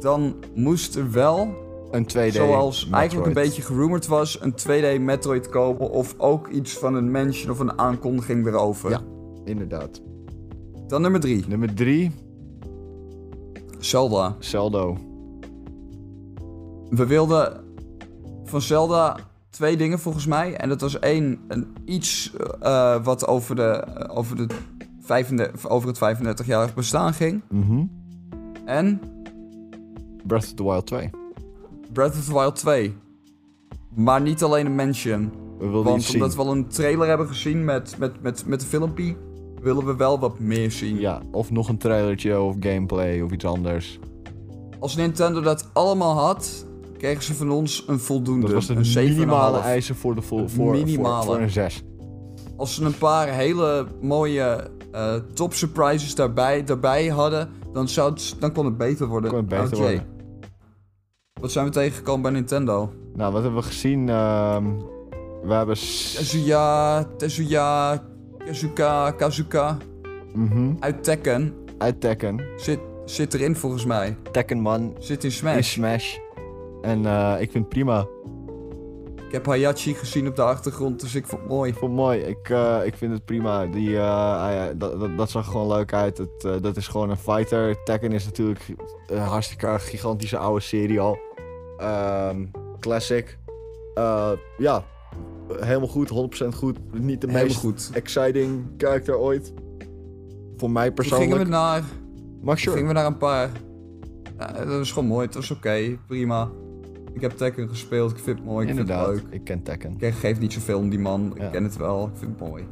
[SPEAKER 3] dan moest er wel
[SPEAKER 4] een 2D
[SPEAKER 3] Zoals
[SPEAKER 4] Metroid.
[SPEAKER 3] eigenlijk een beetje gerumored was, een 2D Metroid komen of ook iets van een mention of een aankondiging erover.
[SPEAKER 4] Ja, inderdaad.
[SPEAKER 3] Dan nummer 3,
[SPEAKER 4] Nummer 3,
[SPEAKER 3] Zelda.
[SPEAKER 4] Zelda.
[SPEAKER 3] We wilden van Zelda twee dingen volgens mij. En dat was één, een iets eh, wat over, de, eh, over, de 35, over het 35-jarig bestaan ging.
[SPEAKER 4] Mhm.
[SPEAKER 3] En
[SPEAKER 4] Breath of the Wild 2.
[SPEAKER 3] Breath of the Wild 2. Maar niet alleen een mention.
[SPEAKER 4] We wilden iets
[SPEAKER 3] Want
[SPEAKER 4] zien.
[SPEAKER 3] omdat we al een trailer hebben gezien met, met, met, met een filmpje, willen we wel wat meer zien.
[SPEAKER 4] Ja, of nog een trailertje of gameplay of iets anders.
[SPEAKER 3] Als Nintendo dat allemaal had, kregen ze van ons een voldoende.
[SPEAKER 4] Dat was de
[SPEAKER 3] een 7,5.
[SPEAKER 4] minimale eisen voor, de vol, voor,
[SPEAKER 3] Minimale.
[SPEAKER 4] voor, voor een 6.
[SPEAKER 3] Als ze een paar hele mooie eh, top surprises daarbij, daarbij hadden, dan, zou het, dan kon het beter worden.
[SPEAKER 4] Kon het beter
[SPEAKER 3] Oké.
[SPEAKER 4] worden.
[SPEAKER 3] Wat zijn we tegengekomen bij Nintendo?
[SPEAKER 4] Nou, wat hebben we gezien? Ehm, we hebben... s-
[SPEAKER 3] Tezuya, Tezuya, Kazuka, Kazuka.
[SPEAKER 4] Mhm.
[SPEAKER 3] Uit Tekken
[SPEAKER 4] Uit Tekken.
[SPEAKER 3] zit, zit erin volgens mij.
[SPEAKER 4] Tekken man
[SPEAKER 3] Zit in
[SPEAKER 4] in
[SPEAKER 3] Smash.
[SPEAKER 4] Smash. En eh, ik vind het prima. Ik
[SPEAKER 3] Ik heb Hayachi gezien op de achtergrond, dus ik vond het mooi.
[SPEAKER 4] vond het mooi. Ik, eh, ik vind het prima. Die, eh, ah ja, dat, dat, dat zag er gewoon leuk uit. Het, eh, dat is gewoon een fighter. Tekken is natuurlijk een hartstikke gigantische oude serie al. Ehm, classic. Eh, ja, helemaal goed. 100% goed. Niet de
[SPEAKER 3] Helemaal
[SPEAKER 4] meest
[SPEAKER 3] goed.
[SPEAKER 4] exciting character ooit. Voor mij
[SPEAKER 3] Toen gingen we
[SPEAKER 4] persoonlijk.
[SPEAKER 3] naar
[SPEAKER 4] Maar
[SPEAKER 3] Toen
[SPEAKER 4] sure.
[SPEAKER 3] gingen we naar een paar. Ja, dat is gewoon mooi, het was oké, prima. Ik heb Tekken gespeeld, ik vind het mooi, ik
[SPEAKER 4] Inderdaad.
[SPEAKER 3] vind het leuk.
[SPEAKER 4] Ik ken Tekken.
[SPEAKER 3] Ik geef niet zoveel om die man,
[SPEAKER 4] Ja.
[SPEAKER 3] ik ken het wel, ik vind het mooi.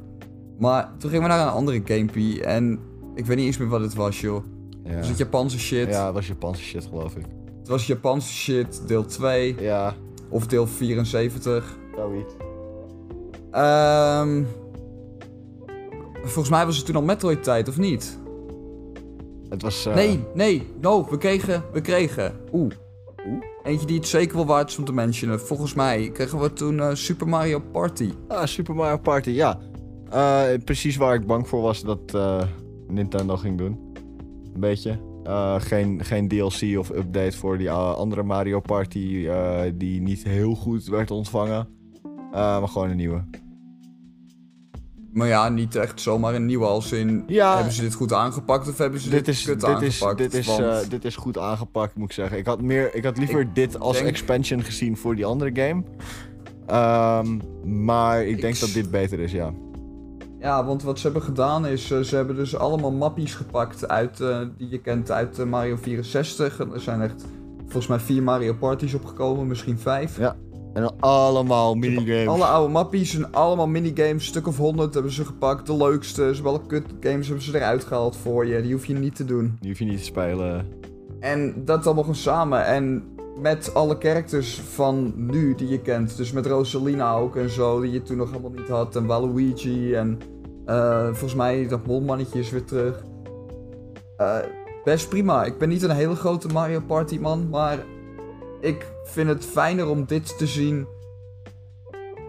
[SPEAKER 3] Maar toen gingen we naar een andere gamepie en ik weet niet eens meer wat het was, joh.
[SPEAKER 4] Ja.
[SPEAKER 3] Was het Japanse shit?
[SPEAKER 4] Ja, dat was Japanse shit, geloof ik.
[SPEAKER 3] Het was Japanse shit, deel 2
[SPEAKER 4] Ja,
[SPEAKER 3] of deel 74.
[SPEAKER 4] zoiets.
[SPEAKER 3] Ehm volgens mij was het toen al Metroid-tijd, of niet?
[SPEAKER 4] Het was... eh,
[SPEAKER 3] Nee, nee, no, we kregen, we kregen. Oeh. Eentje die het zeker wel waard is om te mentionen. Volgens mij kregen we toen eh, Super Mario Party.
[SPEAKER 4] Ah, Super Mario Party, ja. Eh, precies waar ik bang voor was dat eh, Nintendo ging doen. Een beetje. Eh, geen, geen DLC of update voor die eh, andere Mario Party eh, die niet heel goed werd ontvangen. Eh, maar gewoon een nieuwe.
[SPEAKER 3] Maar ja, niet echt zomaar een nieuwe als in.
[SPEAKER 4] Ja.
[SPEAKER 3] hebben ze dit goed aangepakt of hebben ze dit,
[SPEAKER 4] Dit is,
[SPEAKER 3] kut
[SPEAKER 4] dit, is,
[SPEAKER 3] aangepakt?
[SPEAKER 4] dit, is,
[SPEAKER 3] Want-
[SPEAKER 4] eh, dit is goed aangepakt, moet ik zeggen. Ik had, meer, ik had liever dit als
[SPEAKER 3] denk-
[SPEAKER 4] expansion gezien voor die andere game. Ehm, maar ik denk
[SPEAKER 3] Ik
[SPEAKER 4] dat dit beter is, ja.
[SPEAKER 3] Ja, want wat ze hebben gedaan is, eh, ze hebben dus allemaal mappies gepakt uit, eh, die je kent uit eh, Mario 64. En er zijn echt volgens mij vier Mario Parties opgekomen, misschien vijf.
[SPEAKER 4] Ja, En dan allemaal minigames.
[SPEAKER 3] Alle oude mappies en allemaal minigames, een stuk of honderd hebben ze gepakt. De leukste, ze hebben alle kut games hebben ze eruit gehaald voor je. Die hoef je niet te doen.
[SPEAKER 4] Die hoef je niet te spelen.
[SPEAKER 3] En dat allemaal gewoon samen. En met alle characters van nu die je kent. Dus met Rosalina ook en zo, die je toen nog helemaal niet had. En Waluigi en eh, volgens mij dat molmannetje is weer terug. Eh, best prima. Ik ben niet een hele grote Mario Party man, maar ik vind het fijner om dit te zien.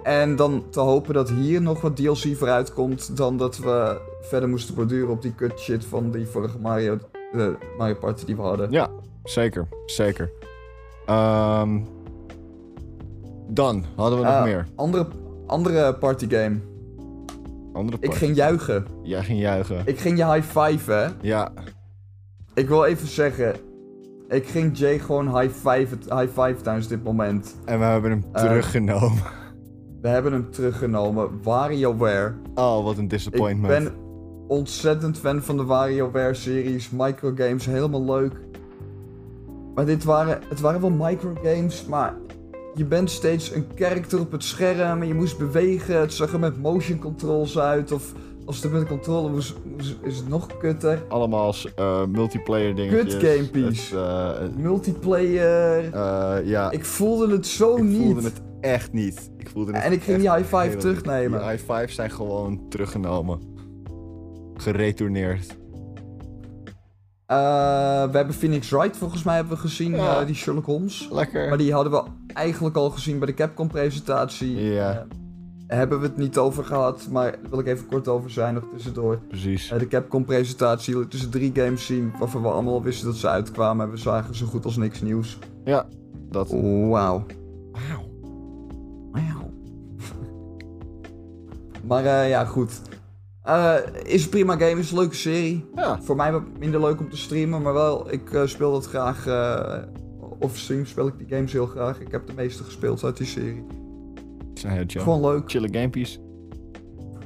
[SPEAKER 3] En dan te hopen dat hier nog wat DLC voor uitkomt, dan dat we verder moesten borduren op die kut shit van die vorige Mario, eh, Mario Party die we hadden.
[SPEAKER 4] Ja, zeker. Zeker. Ehm, dan hadden we nog
[SPEAKER 3] Eh,
[SPEAKER 4] meer.
[SPEAKER 3] Andere, andere partygame.
[SPEAKER 4] Andere
[SPEAKER 3] Ik
[SPEAKER 4] part.
[SPEAKER 3] ging juichen.
[SPEAKER 4] Jij ging juichen.
[SPEAKER 3] Ik ging je high five, hè?
[SPEAKER 4] Ja,
[SPEAKER 3] Ik wil even zeggen. Ik ging Jay gewoon high five, high five tijdens dit moment.
[SPEAKER 4] en we hebben hem
[SPEAKER 3] Eh.
[SPEAKER 4] teruggenomen.
[SPEAKER 3] We hebben hem teruggenomen. WarioWare.
[SPEAKER 4] Oh, wat een
[SPEAKER 3] Ik
[SPEAKER 4] disappointment.
[SPEAKER 3] ben ontzettend fan van de WarioWare-series. Microgames, helemaal leuk. Maar dit waren, het waren wel microgames, maar je bent steeds een character op het scherm en je moest bewegen. Het zag er met motion controls uit. Of als het met een controller moest, moest- is het nog kutter.
[SPEAKER 4] Allemaal als, eh, multiplayer dingetjes.
[SPEAKER 3] Kut gamepie's.
[SPEAKER 4] Het, eh,
[SPEAKER 3] Multiplayer.
[SPEAKER 4] Eh, ja, ik,
[SPEAKER 3] Ik voelde het zo niet.
[SPEAKER 4] voelde het echt niet. Ik voelde het
[SPEAKER 3] En ik ging
[SPEAKER 4] echt
[SPEAKER 3] die high five
[SPEAKER 4] helemaal niet.
[SPEAKER 3] terugnemen.
[SPEAKER 4] Die high fives zijn gewoon teruggenomen. Geretourneerd.
[SPEAKER 3] Eh, we hebben Phoenix Wright volgens mij hebben we gezien,
[SPEAKER 4] Ja.
[SPEAKER 3] eh, die Sherlock Holmes.
[SPEAKER 4] Lekker.
[SPEAKER 3] Maar die hadden we eigenlijk al gezien bij de Capcom-presentatie.
[SPEAKER 4] Ja.
[SPEAKER 3] Eh, hebben we het niet over gehad, maar daar wil ik even kort over zijn nog tussendoor.
[SPEAKER 4] Precies.
[SPEAKER 3] Eh, de Capcom-presentatie liet tussen drie games zien waarvan we allemaal wisten dat ze uitkwamen. En we zagen zo goed als niks nieuws.
[SPEAKER 4] Ja, dat.
[SPEAKER 3] Oh. Wauw.
[SPEAKER 4] Wauw.
[SPEAKER 3] Wauw. maar eh, ja, goed. Eh, is een prima game, is een leuke serie.
[SPEAKER 4] Ja,
[SPEAKER 3] Voor mij wat minder leuk om te streamen, maar wel, ik eh, speel dat graag. eh, of stream speel ik die games heel graag. Ik heb de meeste gespeeld uit die serie.
[SPEAKER 4] zijn heel chill.
[SPEAKER 3] Gewoon leuk.
[SPEAKER 4] chille gamepies.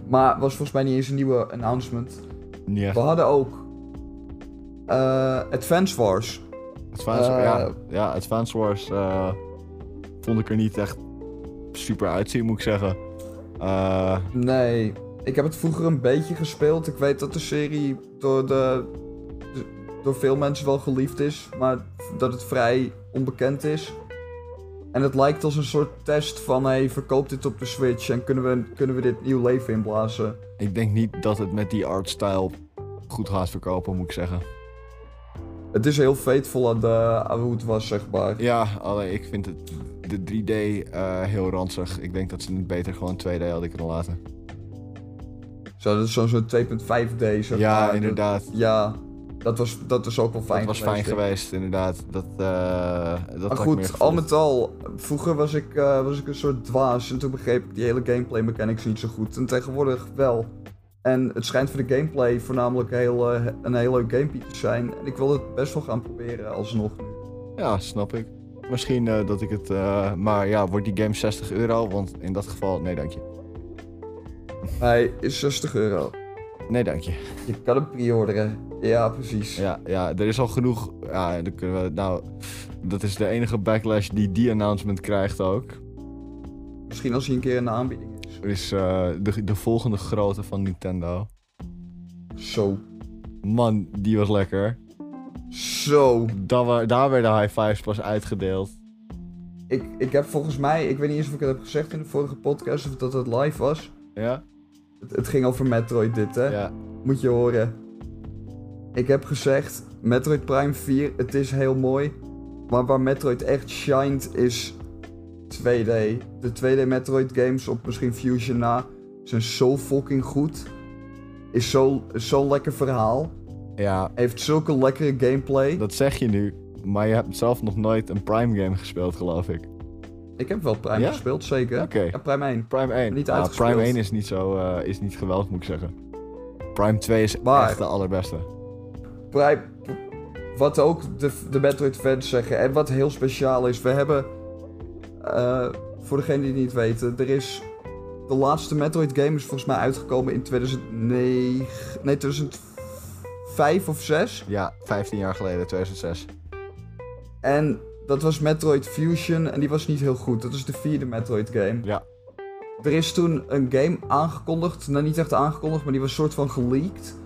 [SPEAKER 3] Maar was volgens mij niet eens een nieuwe announcement.
[SPEAKER 4] Niet echt.
[SPEAKER 3] We hadden ook eh, Advance Wars.
[SPEAKER 4] Advance,
[SPEAKER 3] Eh,
[SPEAKER 4] ja, ja, Advance Wars eh, vond ik er niet echt super uitzien, moet ik zeggen. Eh,
[SPEAKER 3] Nee, ik heb het vroeger een beetje gespeeld. Ik weet dat de serie door, de, door veel mensen wel geliefd is, maar dat het vrij onbekend is. En het lijkt als een soort test van, hey, verkoop dit op de Switch en kunnen we, kunnen we dit nieuw leven inblazen?
[SPEAKER 4] ik denk niet dat het met die artstyle goed gaat verkopen, moet ik zeggen.
[SPEAKER 3] Het is heel faithful aan, de, aan hoe het was, zeg maar.
[SPEAKER 4] Ja, alleen ik vind het, de 3D eh, heel ranzig. Ik denk dat ze het beter gewoon 2D hadden kunnen laten.
[SPEAKER 3] Zo, dat is zo'n zo'n 2.5D, zeg maar.
[SPEAKER 4] ja,
[SPEAKER 3] Dat-
[SPEAKER 4] inderdaad.
[SPEAKER 3] ja, dat was, dat was ook wel fijn
[SPEAKER 4] dat was fijn
[SPEAKER 3] geweest, denk ik.
[SPEAKER 4] geweest, inderdaad. Dat, eh dat had
[SPEAKER 3] Maar
[SPEAKER 4] ik meer
[SPEAKER 3] goed,
[SPEAKER 4] gevoeld.
[SPEAKER 3] al met al, vroeger was ik, eh, was ik een soort dwaas en toen begreep ik die hele gameplay mechanics niet zo goed. En tegenwoordig wel. En het schijnt voor de gameplay voornamelijk heel, eh, een heel leuk gamepie te zijn. En ik wil het best wel gaan proberen alsnog nu.
[SPEAKER 4] Ja, snap ik. Misschien eh, dat ik het... eh, maar ja, wordt die game 60 euro? Want in dat geval, nee dank je.
[SPEAKER 3] Hij is 60 euro.
[SPEAKER 4] Nee dank je.
[SPEAKER 3] Je kan hem pre-orderen. Ja, precies.
[SPEAKER 4] Ja, ja er is al genoeg... Ja, dan kunnen we... Nou, dat is de enige backlash die die announcement krijgt ook.
[SPEAKER 3] Misschien als hij een keer in de aanbieding is.
[SPEAKER 4] Is eh, de, de volgende grote van Nintendo.
[SPEAKER 3] Zo.
[SPEAKER 4] Man, die was lekker.
[SPEAKER 3] Zo.
[SPEAKER 4] Dan wa- daar werden high fives pas uitgedeeld.
[SPEAKER 3] Ik, ik heb volgens mij, ik weet niet eens of ik het heb gezegd in de vorige podcast of dat het live was.
[SPEAKER 4] Ja?
[SPEAKER 3] Het, het ging over Metroid dit, hè?
[SPEAKER 4] Ja.
[SPEAKER 3] Moet je horen. Ik heb gezegd, Metroid Prime 4, het is heel mooi. Maar waar Metroid echt shined is 2D. De 2D Metroid games op misschien Fusion na zijn zo fucking goed. Is zo- is zo'n lekker verhaal.
[SPEAKER 4] ja,
[SPEAKER 3] Heeft zulke lekkere gameplay.
[SPEAKER 4] dat zeg je nu. Maar je hebt zelf nog nooit een Prime game gespeeld, geloof ik.
[SPEAKER 3] Ik heb wel Prime
[SPEAKER 4] Ja?
[SPEAKER 3] gespeeld, zeker.
[SPEAKER 4] Oké.
[SPEAKER 3] Ja, Prime 1.
[SPEAKER 4] Prime 1.
[SPEAKER 3] Niet
[SPEAKER 4] Ah,
[SPEAKER 3] uitgespeeld.
[SPEAKER 4] Prime 1 is niet zo eh, is niet geweldig, moet ik zeggen. Prime 2 is
[SPEAKER 3] Maar-
[SPEAKER 4] echt de allerbeste.
[SPEAKER 3] Prime, wat ook de, de Metroid fans zeggen en wat heel speciaal is, we hebben, eh, voor degenen die het niet weten, er is, de laatste Metroid game is volgens mij uitgekomen in 2009, nee 2005 of 6.
[SPEAKER 4] Ja, 15 jaar geleden, 2006.
[SPEAKER 3] En dat was Metroid Fusion en die was niet heel goed, dat is de vierde Metroid game.
[SPEAKER 4] Ja.
[SPEAKER 3] Er is toen een game aangekondigd, nou niet echt aangekondigd, maar die was soort van geleakt.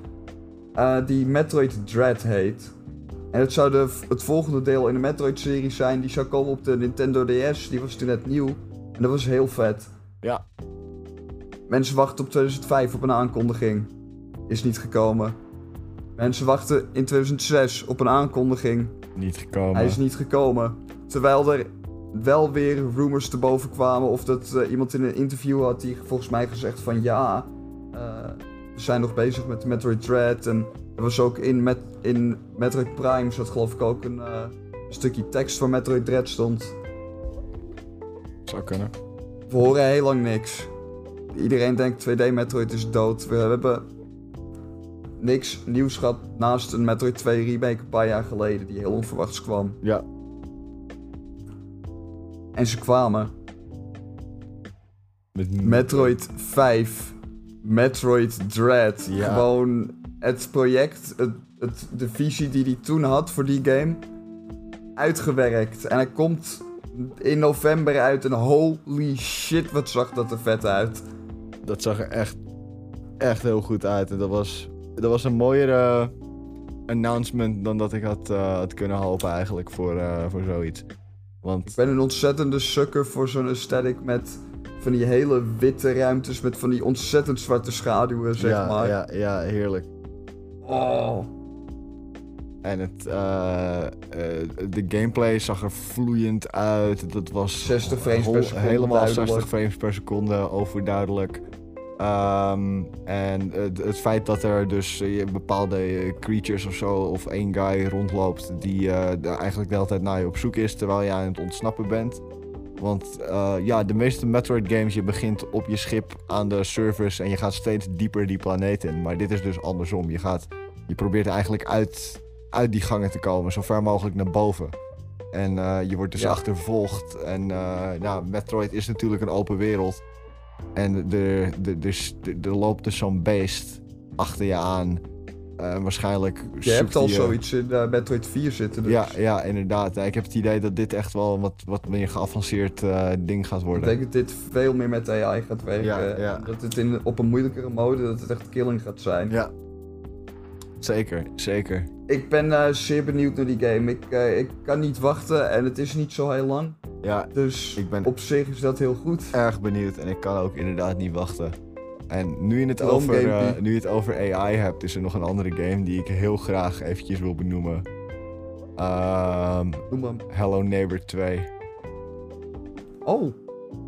[SPEAKER 3] eh, die Metroid Dread heet. En het zou de, het volgende deel in de Metroid-serie zijn. Die zou komen op de Nintendo DS. Die was toen net nieuw. En dat was heel vet.
[SPEAKER 4] Ja.
[SPEAKER 3] Mensen wachten op 2005 op een aankondiging. Is niet gekomen. Mensen wachten in 2006 op een aankondiging.
[SPEAKER 4] Niet gekomen.
[SPEAKER 3] Hij is niet gekomen. Terwijl er wel weer rumors te boven kwamen. Of dat eh, iemand in een interview had die volgens mij gezegd van ja, eh, we zijn nog bezig met Metroid Dread. En er was ook in, met, in Metroid Prime zat geloof ik ook een eh, stukje tekst van Metroid Dread stond.
[SPEAKER 4] Zou kunnen.
[SPEAKER 3] We horen heel lang niks. Iedereen denkt 2D Metroid is dood. We hebben niks nieuws gehad naast een Metroid 2 remake een paar jaar geleden die heel onverwachts kwam.
[SPEAKER 4] Ja.
[SPEAKER 3] En ze kwamen.
[SPEAKER 4] Met,
[SPEAKER 3] Metroid 5. Metroid Dread.
[SPEAKER 4] Ja.
[SPEAKER 3] Gewoon het project, het, het, de visie die hij toen had voor die game, uitgewerkt. En hij komt in november uit en holy shit, wat zag dat er vet uit.
[SPEAKER 4] Dat zag er echt, echt heel goed uit. En dat was, dat was een mooiere announcement dan dat ik had, eh, had kunnen hopen eigenlijk voor, eh, voor zoiets. Want
[SPEAKER 3] Ik ben een ontzettende sukker voor zo'n aesthetic met van die hele witte ruimtes met van die ontzettend zwarte schaduwen, zeg
[SPEAKER 4] ja,
[SPEAKER 3] maar.
[SPEAKER 4] ja, ja, heerlijk.
[SPEAKER 3] Oh.
[SPEAKER 4] En het, eh, eh, de gameplay zag er vloeiend uit. Dat was
[SPEAKER 3] 60 frames per
[SPEAKER 4] hol-
[SPEAKER 3] seconde,
[SPEAKER 4] Helemaal
[SPEAKER 3] duidelijk.
[SPEAKER 4] 60 frames per seconde, overduidelijk. Ehm, en het, het feit dat er dus eh, je bepaalde eh, creatures of zo, of één guy rondloopt die eh, de- eigenlijk de hele tijd naar je op zoek is terwijl je aan het ontsnappen bent. Want eh, ja, de meeste Metroid games, je begint op je schip aan de surface en je gaat steeds dieper die planeet in. Maar dit is dus andersom. Je, gaat, je probeert eigenlijk uit, uit die gangen te komen, zo ver mogelijk naar boven. En eh, je wordt dus
[SPEAKER 3] Ja.
[SPEAKER 4] achtervolgd. En eh, nou, Metroid is natuurlijk een open wereld. En er, er, er, s- er- er loopt dus zo'n beest achter je aan. Eh, waarschijnlijk
[SPEAKER 3] Je
[SPEAKER 4] zoekt
[SPEAKER 3] hebt al
[SPEAKER 4] hij je-
[SPEAKER 3] zoiets in eh, Metroid 4 zitten. Dus.
[SPEAKER 4] ja, ja, inderdaad. Ik heb het idee dat dit echt wel een wat, wat meer geavanceerd eh, ding gaat
[SPEAKER 3] Ik
[SPEAKER 4] worden.
[SPEAKER 3] denk dat dit veel meer met AI gaat werken.
[SPEAKER 4] Ja, ja.
[SPEAKER 3] Dat het in, op een moeilijkere mode, dat het echt killing gaat zijn.
[SPEAKER 4] Ja. Zeker, zeker.
[SPEAKER 3] Ik ben eh, zeer benieuwd naar die game. Ik, eh, ik kan niet wachten en het is niet zo heel lang.
[SPEAKER 4] Ja,
[SPEAKER 3] Dus
[SPEAKER 4] Ik ben-
[SPEAKER 3] op zich is dat heel goed.
[SPEAKER 4] erg benieuwd en ik kan ook inderdaad niet wachten. En nu je het,
[SPEAKER 3] Droom
[SPEAKER 4] over,
[SPEAKER 3] gamepie.
[SPEAKER 4] eh, nu je het over AI hebt, is er nog een andere game die ik heel graag eventjes wil benoemen. Ehm,
[SPEAKER 3] Noem maar.
[SPEAKER 4] Hello Neighbor 2.
[SPEAKER 3] Oh,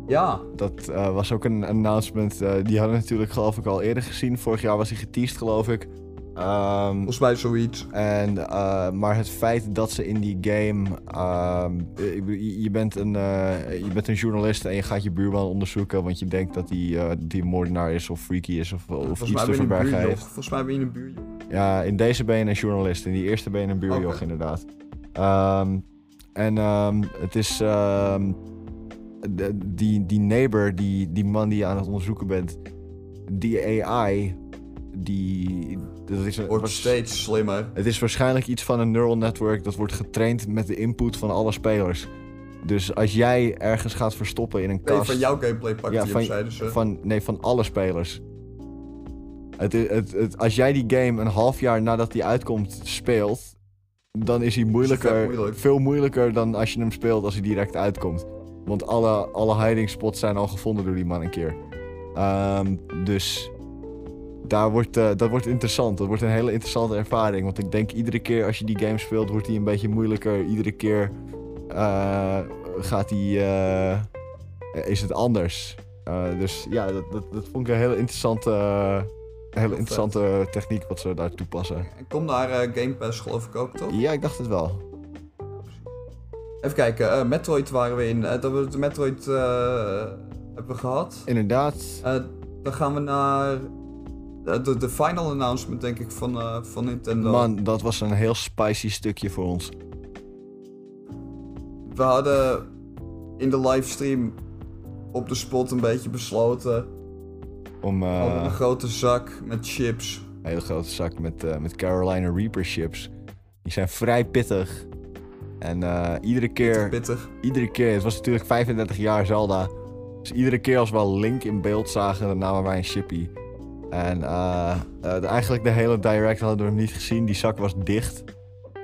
[SPEAKER 3] ja.
[SPEAKER 4] Dat eh, was ook een announcement. eh, die hadden we natuurlijk geloof ik al eerder gezien. Vorig jaar was hij geteased geloof ik. Ehm,
[SPEAKER 3] Volgens mij zoiets.
[SPEAKER 4] En, eh, maar het feit dat ze in die game. ehm, eh, ik bedoel, je, je bent een, eh, je bent een journalist en je gaat je buurman onderzoeken. Want je denkt dat hij eh, die een moordenaar is of freaky is of, of
[SPEAKER 3] Volgens
[SPEAKER 4] iets
[SPEAKER 3] mij
[SPEAKER 4] te
[SPEAKER 3] ben je een
[SPEAKER 4] verbergen
[SPEAKER 3] buurjoch.
[SPEAKER 4] heeft.
[SPEAKER 3] Volgens mij ben je een buurjoch.
[SPEAKER 4] Ja, in deze ben je een journalist. In die eerste ben je een buurjoch,
[SPEAKER 3] Oké.
[SPEAKER 4] inderdaad. Ehm, en ehm, het is... ehm, de- die, die neighbor, die, die man die je aan het onderzoeken bent... Die AI, die... Dat is een,
[SPEAKER 3] Wordt
[SPEAKER 4] was-
[SPEAKER 3] steeds slimmer.
[SPEAKER 4] het is waarschijnlijk iets van een neural network dat wordt getraind met de input van alle spelers. Dus als jij ergens gaat verstoppen in een
[SPEAKER 3] Nee,
[SPEAKER 4] kast...
[SPEAKER 3] van jouw gameplay pakt
[SPEAKER 4] Ja,
[SPEAKER 3] die
[SPEAKER 4] van-
[SPEAKER 3] op, zeiden ze.
[SPEAKER 4] Van, nee, van alle spelers. Het, i- het, het, als jij die game een half jaar nadat die uitkomt speelt, dan is hij moeilijker,
[SPEAKER 3] vet moeilijk.
[SPEAKER 4] veel moeilijker dan als je hem speelt als hij direct uitkomt. Want alle, alle hiding spots zijn al gevonden door die man een keer. Ehm, dus daar wordt, eh, dat wordt interessant. Dat wordt een hele interessante ervaring. Want ik denk iedere keer als je die game speelt, wordt die een beetje moeilijker. Iedere keer eh, gaat die, eh, is het anders. Eh, dus ja, dat, dat, dat vond ik een hele interessante, een hele
[SPEAKER 3] vet.
[SPEAKER 4] interessante techniek wat ze daar toepassen.
[SPEAKER 3] En kom naar eh Game Pass geloof ik ook, toch?
[SPEAKER 4] Ja, ik dacht het wel.
[SPEAKER 3] Even kijken, eh, Metroid waren we in. Eh, dat we de Metroid eh, hebben gehad.
[SPEAKER 4] Inderdaad.
[SPEAKER 3] Eh, dan gaan we naar eh, de, de final announcement, denk ik, van, eh, van Nintendo.
[SPEAKER 4] Man, dat was een heel spicy stukje voor ons.
[SPEAKER 3] We hadden in de livestream op de spot een beetje besloten.
[SPEAKER 4] Om eh,
[SPEAKER 3] We hadden een grote zak met chips.
[SPEAKER 4] een hele grote zak met, eh, met Carolina Reaper chips. Die zijn vrij pittig. En eh, iedere keer...
[SPEAKER 3] Pittig.
[SPEAKER 4] iedere keer, het was natuurlijk 35 jaar Zelda. Dus iedere keer als we al Link in beeld zagen, dan namen wij een chippy. En eh, eh, de- eigenlijk de hele direct hadden we hem niet gezien. Die zak was dicht.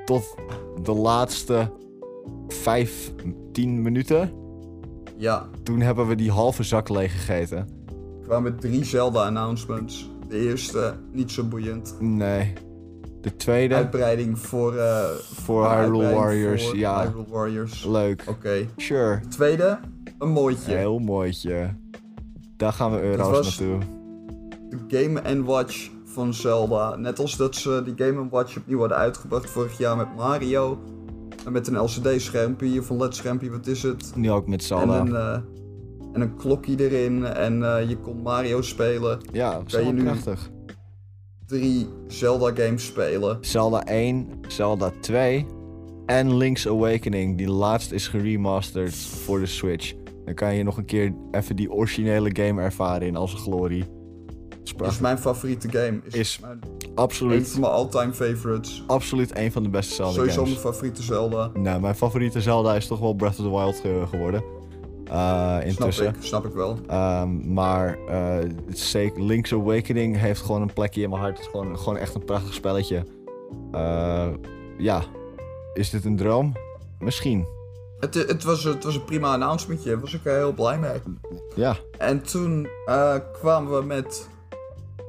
[SPEAKER 4] Tot de laatste 5, 10 minuten.
[SPEAKER 3] Ja,
[SPEAKER 4] Toen hebben we die halve zak leeggegeten.
[SPEAKER 3] er kwamen drie Zelda-announcements. De eerste, niet zo boeiend.
[SPEAKER 4] Nee. De tweede,
[SPEAKER 3] Uitbreiding voor... eh
[SPEAKER 4] voor Hyrule
[SPEAKER 3] uitbreiding
[SPEAKER 4] Warriors.
[SPEAKER 3] voor
[SPEAKER 4] Ja,
[SPEAKER 3] Hyrule Warriors. Oké.
[SPEAKER 4] leuk. Sure.
[SPEAKER 3] Tweede, een mooitje.
[SPEAKER 4] Heel mooitje. Daar gaan we euro's
[SPEAKER 3] was-
[SPEAKER 4] naartoe.
[SPEAKER 3] De Game Watch van Zelda. Net als dat ze die Game Watch opnieuw hadden uitgebracht vorig jaar met Mario. En met een LCD-schermpje van LED-schermpje, wat is het?
[SPEAKER 4] Nu ook met
[SPEAKER 3] En
[SPEAKER 4] Zelda.
[SPEAKER 3] een, eh, en een klokje erin. En eh, je kon Mario spelen.
[SPEAKER 4] ja, dat is
[SPEAKER 3] kan je
[SPEAKER 4] allemaal
[SPEAKER 3] nu-
[SPEAKER 4] prachtig.
[SPEAKER 3] Drie Zelda-games spelen.
[SPEAKER 4] Zelda 1, Zelda 2 en Link's Awakening. Die laatste is geremasterd voor de Switch. Dan kan je nog een keer even die originele game ervaren in al zijn glorie. Dat is
[SPEAKER 3] Is
[SPEAKER 4] prachtig.
[SPEAKER 3] mijn favoriete game. Is,
[SPEAKER 4] Is
[SPEAKER 3] mijn, een
[SPEAKER 4] Absoluut,
[SPEAKER 3] van mijn all-time favorites.
[SPEAKER 4] absoluut een van de beste Zelda
[SPEAKER 3] Sowieso mijn
[SPEAKER 4] games.
[SPEAKER 3] favoriete Zelda.
[SPEAKER 4] Nou, mijn favoriete Zelda is toch wel Breath of the Wild ge- geworden. Eh, intussen.
[SPEAKER 3] Snap ik, snap ik wel.
[SPEAKER 4] Ehm, maar eh, zeker Link's Awakening heeft gewoon een plekje in mijn hart. Het is gewoon, gewoon echt een prachtig spelletje. Eh, ja, is dit een droom? Misschien.
[SPEAKER 3] Het, het, was, het was een prima announcementje. Daar was ik er heel blij mee.
[SPEAKER 4] Ja,
[SPEAKER 3] En toen eh, kwamen we met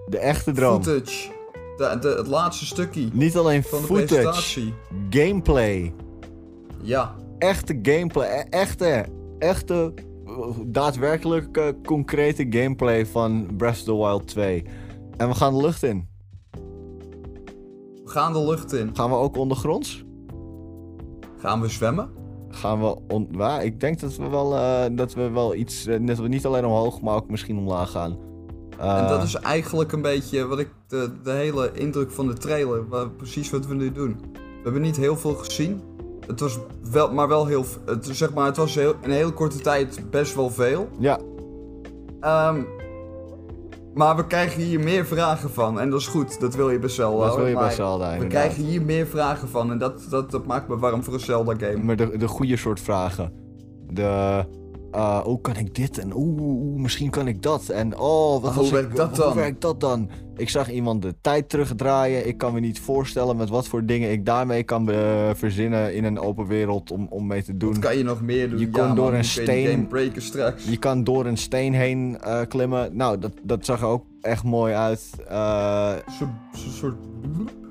[SPEAKER 4] de echte droom.
[SPEAKER 3] footage. De, de, het laatste stukje
[SPEAKER 4] Niet alleen
[SPEAKER 3] van de
[SPEAKER 4] footage,
[SPEAKER 3] presentatie.
[SPEAKER 4] gameplay.
[SPEAKER 3] Ja,
[SPEAKER 4] Echte gameplay. e- Echte, echte, eh, daadwerkelijke, concrete gameplay van Breath of the Wild 2. En we gaan de lucht in.
[SPEAKER 3] we gaan de lucht in.
[SPEAKER 4] Gaan we ook ondergronds?
[SPEAKER 3] Gaan we zwemmen?
[SPEAKER 4] Gaan we on... Waar? Ik denk dat we wel, eh, dat we wel iets... eh, dat we niet alleen omhoog, maar ook misschien omlaag gaan. Eh,
[SPEAKER 3] en dat is eigenlijk een beetje wat ik de, de hele indruk van de trailer, wa- precies wat we nu doen. We hebben niet heel veel gezien. Het was wel, maar wel heel, v- het, zeg maar, het was heel, in een hele korte tijd best wel veel.
[SPEAKER 4] Ja,
[SPEAKER 3] Ehm, maar we krijgen hier meer vragen van. En dat is goed, dat wil je best wel.
[SPEAKER 4] dat
[SPEAKER 3] hoor,
[SPEAKER 4] wil je
[SPEAKER 3] maar
[SPEAKER 4] best wel daar,
[SPEAKER 3] We krijgen hier meer vragen van. En dat, dat, dat maakt me warm voor een Zelda-game.
[SPEAKER 4] Maar de, de goede soort vragen. De. eh oh, kan ik dit? En oeh, oeh, misschien kan ik dat. En oh, wat
[SPEAKER 3] Ah, Hoe
[SPEAKER 4] als ik-
[SPEAKER 3] werkt dat
[SPEAKER 4] hoe
[SPEAKER 3] dan?
[SPEAKER 4] werkt dat dan? Ik zag iemand de tijd terugdraaien. Ik kan me niet voorstellen met wat voor dingen ik daarmee kan eh, verzinnen in een open wereld om, om mee te doen.
[SPEAKER 3] Wat kan je nog meer doen?
[SPEAKER 4] Je kon door
[SPEAKER 3] man,
[SPEAKER 4] een
[SPEAKER 3] hoe kun je die
[SPEAKER 4] steen-
[SPEAKER 3] game breken straks.
[SPEAKER 4] Je kan door een steen heen eh, klimmen. Nou, dat, dat zag er ook echt mooi uit. Eh,
[SPEAKER 3] Zo'n zo'n soort...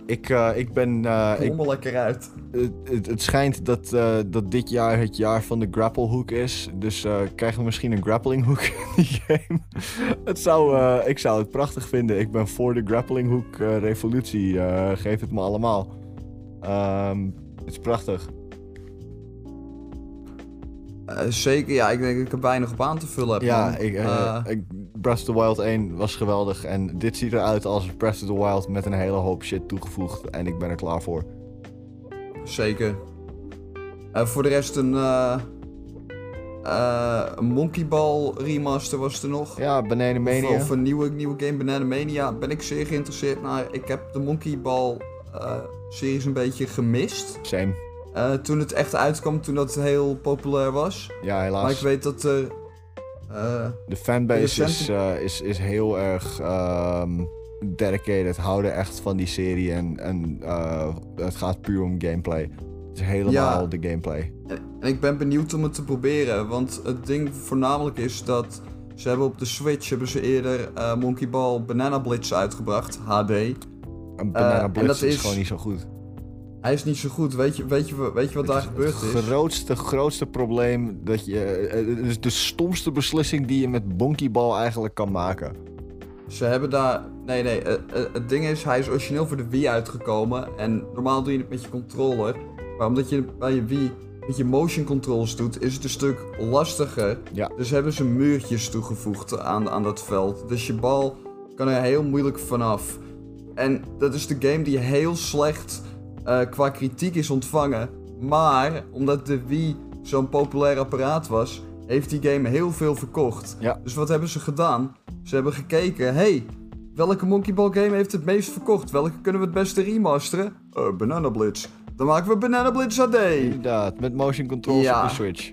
[SPEAKER 4] ik, eh, ik ben. eh, ik,
[SPEAKER 3] Rommel lekker uit.
[SPEAKER 4] Het, het, het schijnt dat, eh, dat dit jaar het jaar van de grapplehoek is. Dus eh, krijgen we misschien een grapplinghoek in die game. het zou, eh, ik zou het prachtig vinden. Ik ben voor de grapplinghoek eh, revolutie. Eh, geef het me allemaal. Ehm, het is prachtig.
[SPEAKER 3] Eh, zeker, ja. Ik denk dat ik er weinig op aan te vullen heb.
[SPEAKER 4] Ja,
[SPEAKER 3] man.
[SPEAKER 4] ik, eh,
[SPEAKER 3] Eh,
[SPEAKER 4] ik, Breath of the Wild 1 was geweldig. En dit ziet eruit als Breath of the Wild met een hele hoop shit toegevoegd. En ik ben er klaar voor.
[SPEAKER 3] Zeker. Eh, voor de rest een... eh eh, een Monkey Ball remaster was er nog.
[SPEAKER 4] Ja, beneden
[SPEAKER 3] Of,
[SPEAKER 4] mania.
[SPEAKER 3] of een nieuwe, nieuwe game, Banana Mania. Ben ik zeer geïnteresseerd naar. Ik heb de Monkey Ball eh, series een beetje gemist.
[SPEAKER 4] Same.
[SPEAKER 3] Eh, toen het echt uitkwam, toen dat heel populair was.
[SPEAKER 4] Ja,
[SPEAKER 3] Maar ik
[SPEAKER 4] helaas.
[SPEAKER 3] weet dat er. eh,
[SPEAKER 4] De fanbase
[SPEAKER 3] De
[SPEAKER 4] is, eh, is, is heel erg ehm, dedicated. Houden echt van die serie. En, en eh, het gaat puur om gameplay. Het is helemaal
[SPEAKER 3] Ja.
[SPEAKER 4] de gameplay.
[SPEAKER 3] en en ik ben benieuwd om het te proberen. Want het ding voornamelijk is dat. Ze hebben op de Switch hebben ze eerder eh, Monkey Ball Banana Blitz uitgebracht, HD.
[SPEAKER 4] Een Banana
[SPEAKER 3] Eh, en
[SPEAKER 4] Blitz
[SPEAKER 3] dat
[SPEAKER 4] is,
[SPEAKER 3] is-
[SPEAKER 4] gewoon niet zo goed.
[SPEAKER 3] Hij is niet zo goed. Weet je, weet je, weet je wat daar gebeurd is?
[SPEAKER 4] Het grootste, grootste probleem dat je... eh, Het is de stomste beslissing die je met Bonky Ball eigenlijk kan maken.
[SPEAKER 3] Ze hebben daar. Nee, nee. eh, eh, het ding is, hij is origineel voor de Wii uitgekomen. En normaal doe je het met je controller. Maar omdat je bij je Wii met je motion controls doet, is het een stuk lastiger.
[SPEAKER 4] Ja.
[SPEAKER 3] Dus hebben ze muurtjes toegevoegd aan, aan dat veld. Dus je bal kan er heel moeilijk vanaf. En dat is de game die heel slecht eh, qua kritiek is ontvangen. Maar omdat de Wii zo'n populair apparaat was, heeft die game heel veel verkocht.
[SPEAKER 4] Ja.
[SPEAKER 3] Dus wat hebben ze gedaan? Ze hebben gekeken, hey, welke Monkey Ball game heeft het meest verkocht? Welke kunnen we het beste remasteren? Eh Banana Blitz. Dan maken we Banana Blitz HD.
[SPEAKER 4] Inderdaad, met motion controls
[SPEAKER 3] Ja.
[SPEAKER 4] op de Switch.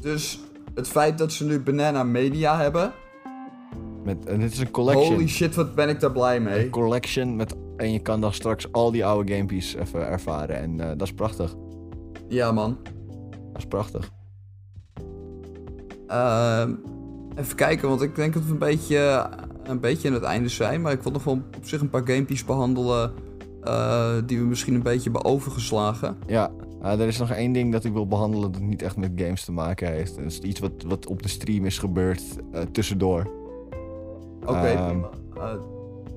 [SPEAKER 3] Dus het feit dat ze nu Banana Media hebben.
[SPEAKER 4] Met, en dit is een collection.
[SPEAKER 3] Holy shit, wat ben ik daar blij
[SPEAKER 4] Een
[SPEAKER 3] mee.
[SPEAKER 4] collection met, en je kan dan straks al die oude gamepieces even ervaren. En eh, dat is prachtig.
[SPEAKER 3] Ja, man.
[SPEAKER 4] Dat is prachtig.
[SPEAKER 3] Ehm, even kijken, want ik denk dat we een beetje, eh, een beetje aan het einde zijn. Maar ik wil nog wel op zich een paar gameplays behandelen. eh, die we misschien een beetje hebben overgeslagen.
[SPEAKER 4] Ja, eh, er is nog één ding dat ik wil behandelen dat niet echt met games te maken heeft. En Dat is iets wat, wat op de stream is gebeurd eh, tussendoor.
[SPEAKER 3] Oké,
[SPEAKER 4] Ehm.
[SPEAKER 3] prima. Eh,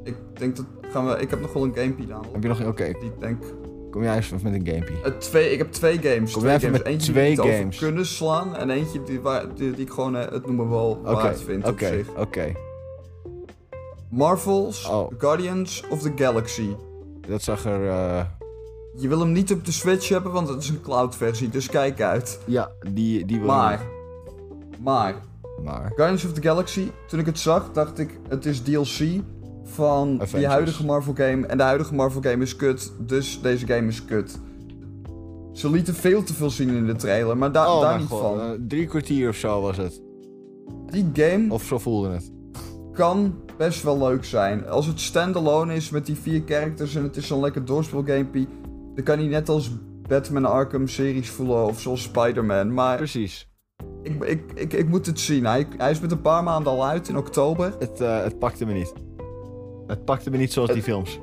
[SPEAKER 3] ik denk dat gaan we. Ik heb nog wel een gamepie download.
[SPEAKER 4] Heb je nog... Oké,
[SPEAKER 3] Die denk.
[SPEAKER 4] kom jij eens even met een gamepie.
[SPEAKER 3] eh, twee, ik heb twee games.
[SPEAKER 4] Kom
[SPEAKER 3] twee
[SPEAKER 4] even
[SPEAKER 3] games.
[SPEAKER 4] met
[SPEAKER 3] Eentje
[SPEAKER 4] twee
[SPEAKER 3] die we niet
[SPEAKER 4] games.
[SPEAKER 3] over kunnen slaan. En eentje die, waar, die, die ik gewoon eh, het noemen wel
[SPEAKER 4] Oké,
[SPEAKER 3] waard vind op
[SPEAKER 4] oké,
[SPEAKER 3] zich.
[SPEAKER 4] oké.
[SPEAKER 3] Marvel's
[SPEAKER 4] Oh.
[SPEAKER 3] Guardians of the Galaxy.
[SPEAKER 4] Dat zag er... eh,
[SPEAKER 3] Je wil hem niet op de Switch hebben, want het is een cloud versie, dus kijk uit.
[SPEAKER 4] ja, die, die wil je
[SPEAKER 3] Maar,
[SPEAKER 4] nog.
[SPEAKER 3] maar,
[SPEAKER 4] Maar...
[SPEAKER 3] Guardians of the Galaxy, toen ik het zag, dacht ik, het is DLC van die
[SPEAKER 4] Avengers.
[SPEAKER 3] huidige Marvel game. En de huidige Marvel game is kut, dus deze game is kut. Ze lieten veel te veel zien in de trailer, maar Ah, daar
[SPEAKER 4] oh
[SPEAKER 3] daar
[SPEAKER 4] mijn
[SPEAKER 3] niet
[SPEAKER 4] god,
[SPEAKER 3] van.
[SPEAKER 4] eh, drie kwartier of zo was het.
[SPEAKER 3] Die game
[SPEAKER 4] Of zo voelde het.
[SPEAKER 3] kan best wel leuk zijn. Als het standalone is met die vier characters en het is zo'n lekker doorspeelgamepie, dan kan hij net als Batman Arkham series voelen of zoals Spider-Man. Maar
[SPEAKER 4] Precies.
[SPEAKER 3] ik, ik, ik, ik moet het zien. Hij, hij is met een paar maanden al uit in oktober.
[SPEAKER 4] Het, eh, het pakte me niet. Het pakte me niet zoals die films.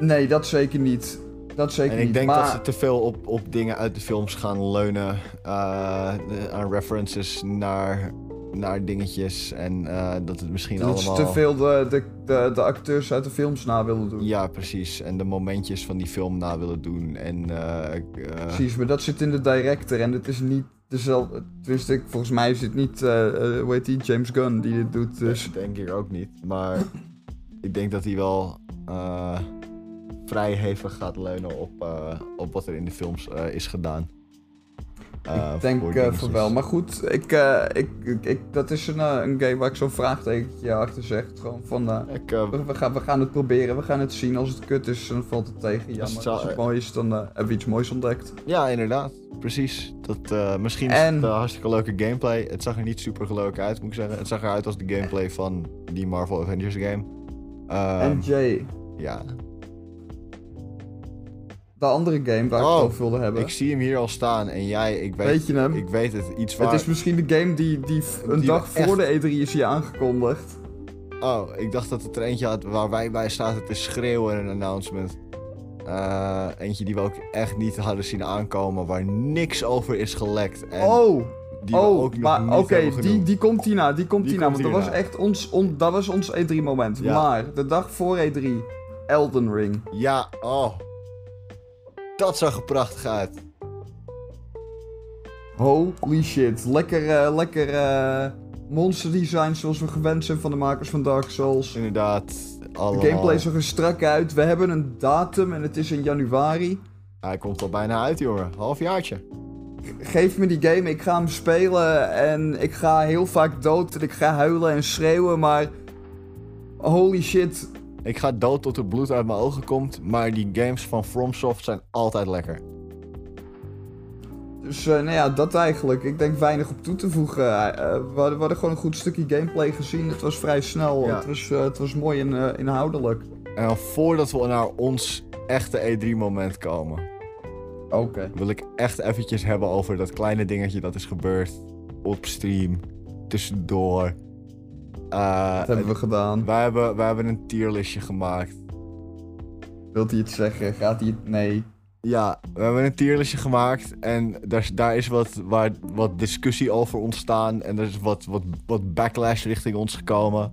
[SPEAKER 3] Nee, dat zeker niet. Dat zeker
[SPEAKER 4] En ik
[SPEAKER 3] niet.
[SPEAKER 4] denk
[SPEAKER 3] maar
[SPEAKER 4] dat ze te veel op, op dingen uit de films gaan leunen. eh, de- aan references naar, naar dingetjes. En eh, dat het misschien
[SPEAKER 3] dat ze
[SPEAKER 4] allemaal...
[SPEAKER 3] te veel de, de, de, de acteurs uit de films na willen doen.
[SPEAKER 4] Ja, precies. En de momentjes van die film na willen doen. En eh, eh,
[SPEAKER 3] Precies, maar dat zit in de director en het is niet dezelfde. Tenminste, ik- volgens mij is het niet, eh, eh, hoe heet die, James Gunn die dit doet. Dus
[SPEAKER 4] dat denk ik ook niet. Maar ik denk dat hij wel eh, vrij hevig gaat leunen op, eh, op wat er in de films eh, is gedaan. Eh,
[SPEAKER 3] ik denk
[SPEAKER 4] voor
[SPEAKER 3] eh,
[SPEAKER 4] dingetjes.
[SPEAKER 3] van wel. Maar goed, ik, eh, ik, ik, ik- dat is een, eh, een game waar ik zo'n vraagtekentje achter zeg. Gewoon van, eh,
[SPEAKER 4] Ik, eh,
[SPEAKER 3] we, we gaan, we gaan het proberen, we gaan het zien. Als het kut is, dan valt het tegen. Ja,
[SPEAKER 4] Als het
[SPEAKER 3] maar
[SPEAKER 4] zou-
[SPEAKER 3] als het mooi is, dan eh, hebben we iets moois ontdekt.
[SPEAKER 4] Ja, inderdaad. Precies. Dat, eh, misschien is
[SPEAKER 3] En-
[SPEAKER 4] het eh, hartstikke leuke gameplay. Het zag er niet super leuk uit, moet ik zeggen. Het zag eruit als de gameplay van die Marvel Avengers game. Ehm,
[SPEAKER 3] en Jay,
[SPEAKER 4] ja.
[SPEAKER 3] de andere game waar ik
[SPEAKER 4] Oh,
[SPEAKER 3] het over wilde hebben.
[SPEAKER 4] Ik zie hem hier al staan en jij, ik weet,
[SPEAKER 3] Weet je hem?
[SPEAKER 4] Ik weet het. Iets waar...
[SPEAKER 3] Het is misschien de game die, die f- een
[SPEAKER 4] Die
[SPEAKER 3] dag
[SPEAKER 4] we echt-
[SPEAKER 3] voor de E3 is hier aangekondigd.
[SPEAKER 4] Oh, ik dacht dat het er eentje had waar wij bij zaten te schreeuwen in een announcement. Eh, eentje die we ook echt niet hadden zien aankomen, waar niks over is gelekt. En
[SPEAKER 3] oh,
[SPEAKER 4] die we ook
[SPEAKER 3] oh
[SPEAKER 4] nog
[SPEAKER 3] maar
[SPEAKER 4] niet
[SPEAKER 3] oké,
[SPEAKER 4] hebben
[SPEAKER 3] die,
[SPEAKER 4] genoemd.
[SPEAKER 3] die komt hierna, die komt
[SPEAKER 4] Die
[SPEAKER 3] hierna.
[SPEAKER 4] komt
[SPEAKER 3] want dat was
[SPEAKER 4] hierna.
[SPEAKER 3] echt ons, on- dat was ons E3 moment.
[SPEAKER 4] Ja.
[SPEAKER 3] Maar de dag voor E3, Elden Ring.
[SPEAKER 4] Ja, oh. Dat zag er prachtig uit.
[SPEAKER 3] Holy shit. Lekker, eh, lekker eh, monster design zoals we gewend zijn van de makers van Dark Souls.
[SPEAKER 4] Inderdaad.
[SPEAKER 3] De
[SPEAKER 4] Allemaal.
[SPEAKER 3] gameplay zag er strak uit. We hebben een datum en het is in januari.
[SPEAKER 4] Hij komt al bijna uit, jongen. Halfjaartje.
[SPEAKER 3] Geef me die game, ik ga hem spelen en ik ga heel vaak dood en ik ga huilen en schreeuwen, maar holy shit.
[SPEAKER 4] Ik ga dood tot er bloed uit mijn ogen komt, maar die games van FromSoft zijn altijd lekker.
[SPEAKER 3] Dus eh, nou ja, dat eigenlijk. Ik denk weinig op toe te voegen. Eh, we, hadden, we hadden gewoon een goed stukje gameplay gezien. Het was vrij snel.
[SPEAKER 4] Ja.
[SPEAKER 3] Het, was, eh, het was mooi en eh, inhoudelijk.
[SPEAKER 4] En dan voordat we naar ons echte E3-moment komen,
[SPEAKER 3] Oké.
[SPEAKER 4] wil ik echt eventjes hebben over dat kleine dingetje dat is gebeurd op stream, tussendoor. Eh,
[SPEAKER 3] Dat hebben we gedaan.
[SPEAKER 4] wij, hebben, wij hebben een tierlistje gemaakt.
[SPEAKER 3] Wilt hij het zeggen? Gaat hij het... Nee.
[SPEAKER 4] Ja, we hebben een tierlistje gemaakt en daar, is- daar is wat, waar, wat discussie over ontstaan en er is wat, wat, wat backlash richting ons gekomen.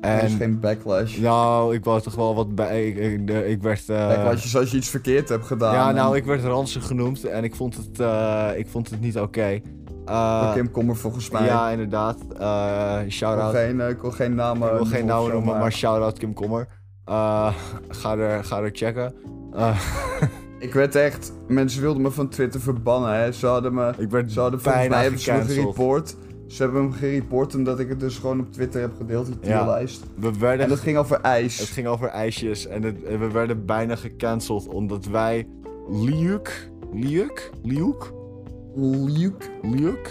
[SPEAKER 3] Er is
[SPEAKER 4] En,
[SPEAKER 3] geen backlash.
[SPEAKER 4] nou, ik was toch wel wat bij. Ik, ik, de- ik werd. eh,
[SPEAKER 3] backlash is als je iets verkeerd hebt gedaan.
[SPEAKER 4] ja, nou,
[SPEAKER 3] en
[SPEAKER 4] ik werd ranzig genoemd en ik vond het, eh, ik vond het niet oké. Eh,
[SPEAKER 3] door Kim Kommer volgens mij.
[SPEAKER 4] ja, inderdaad. Eh
[SPEAKER 3] ik,
[SPEAKER 4] shout
[SPEAKER 3] wil
[SPEAKER 4] out.
[SPEAKER 3] geen, eh, ik wil geen namen
[SPEAKER 4] ik wil geen
[SPEAKER 3] noemen of
[SPEAKER 4] namen
[SPEAKER 3] zo,
[SPEAKER 4] noemen,
[SPEAKER 3] maar
[SPEAKER 4] maar shout out Kim Kommer. Eh, ga, er, ga er checken. Eh,
[SPEAKER 3] Ik werd echt... Mensen wilden me van Twitter verbannen, hè. Ze hadden me...
[SPEAKER 4] ik werd
[SPEAKER 3] Ze hadden volgens
[SPEAKER 4] bijna
[SPEAKER 3] mij hebben ze me
[SPEAKER 4] gecanceld.
[SPEAKER 3] gereport. Ze hebben hem gereport omdat ik het dus gewoon op Twitter heb gedeeld, die
[SPEAKER 4] Ja.
[SPEAKER 3] tierlijst.
[SPEAKER 4] We werden
[SPEAKER 3] En dat ging over
[SPEAKER 4] Het
[SPEAKER 3] ijs.
[SPEAKER 4] ging over ijsjes en het- en we werden bijna gecanceld omdat wij Liuk, Liuk, Liuk,
[SPEAKER 3] Liuk,
[SPEAKER 4] Liuk,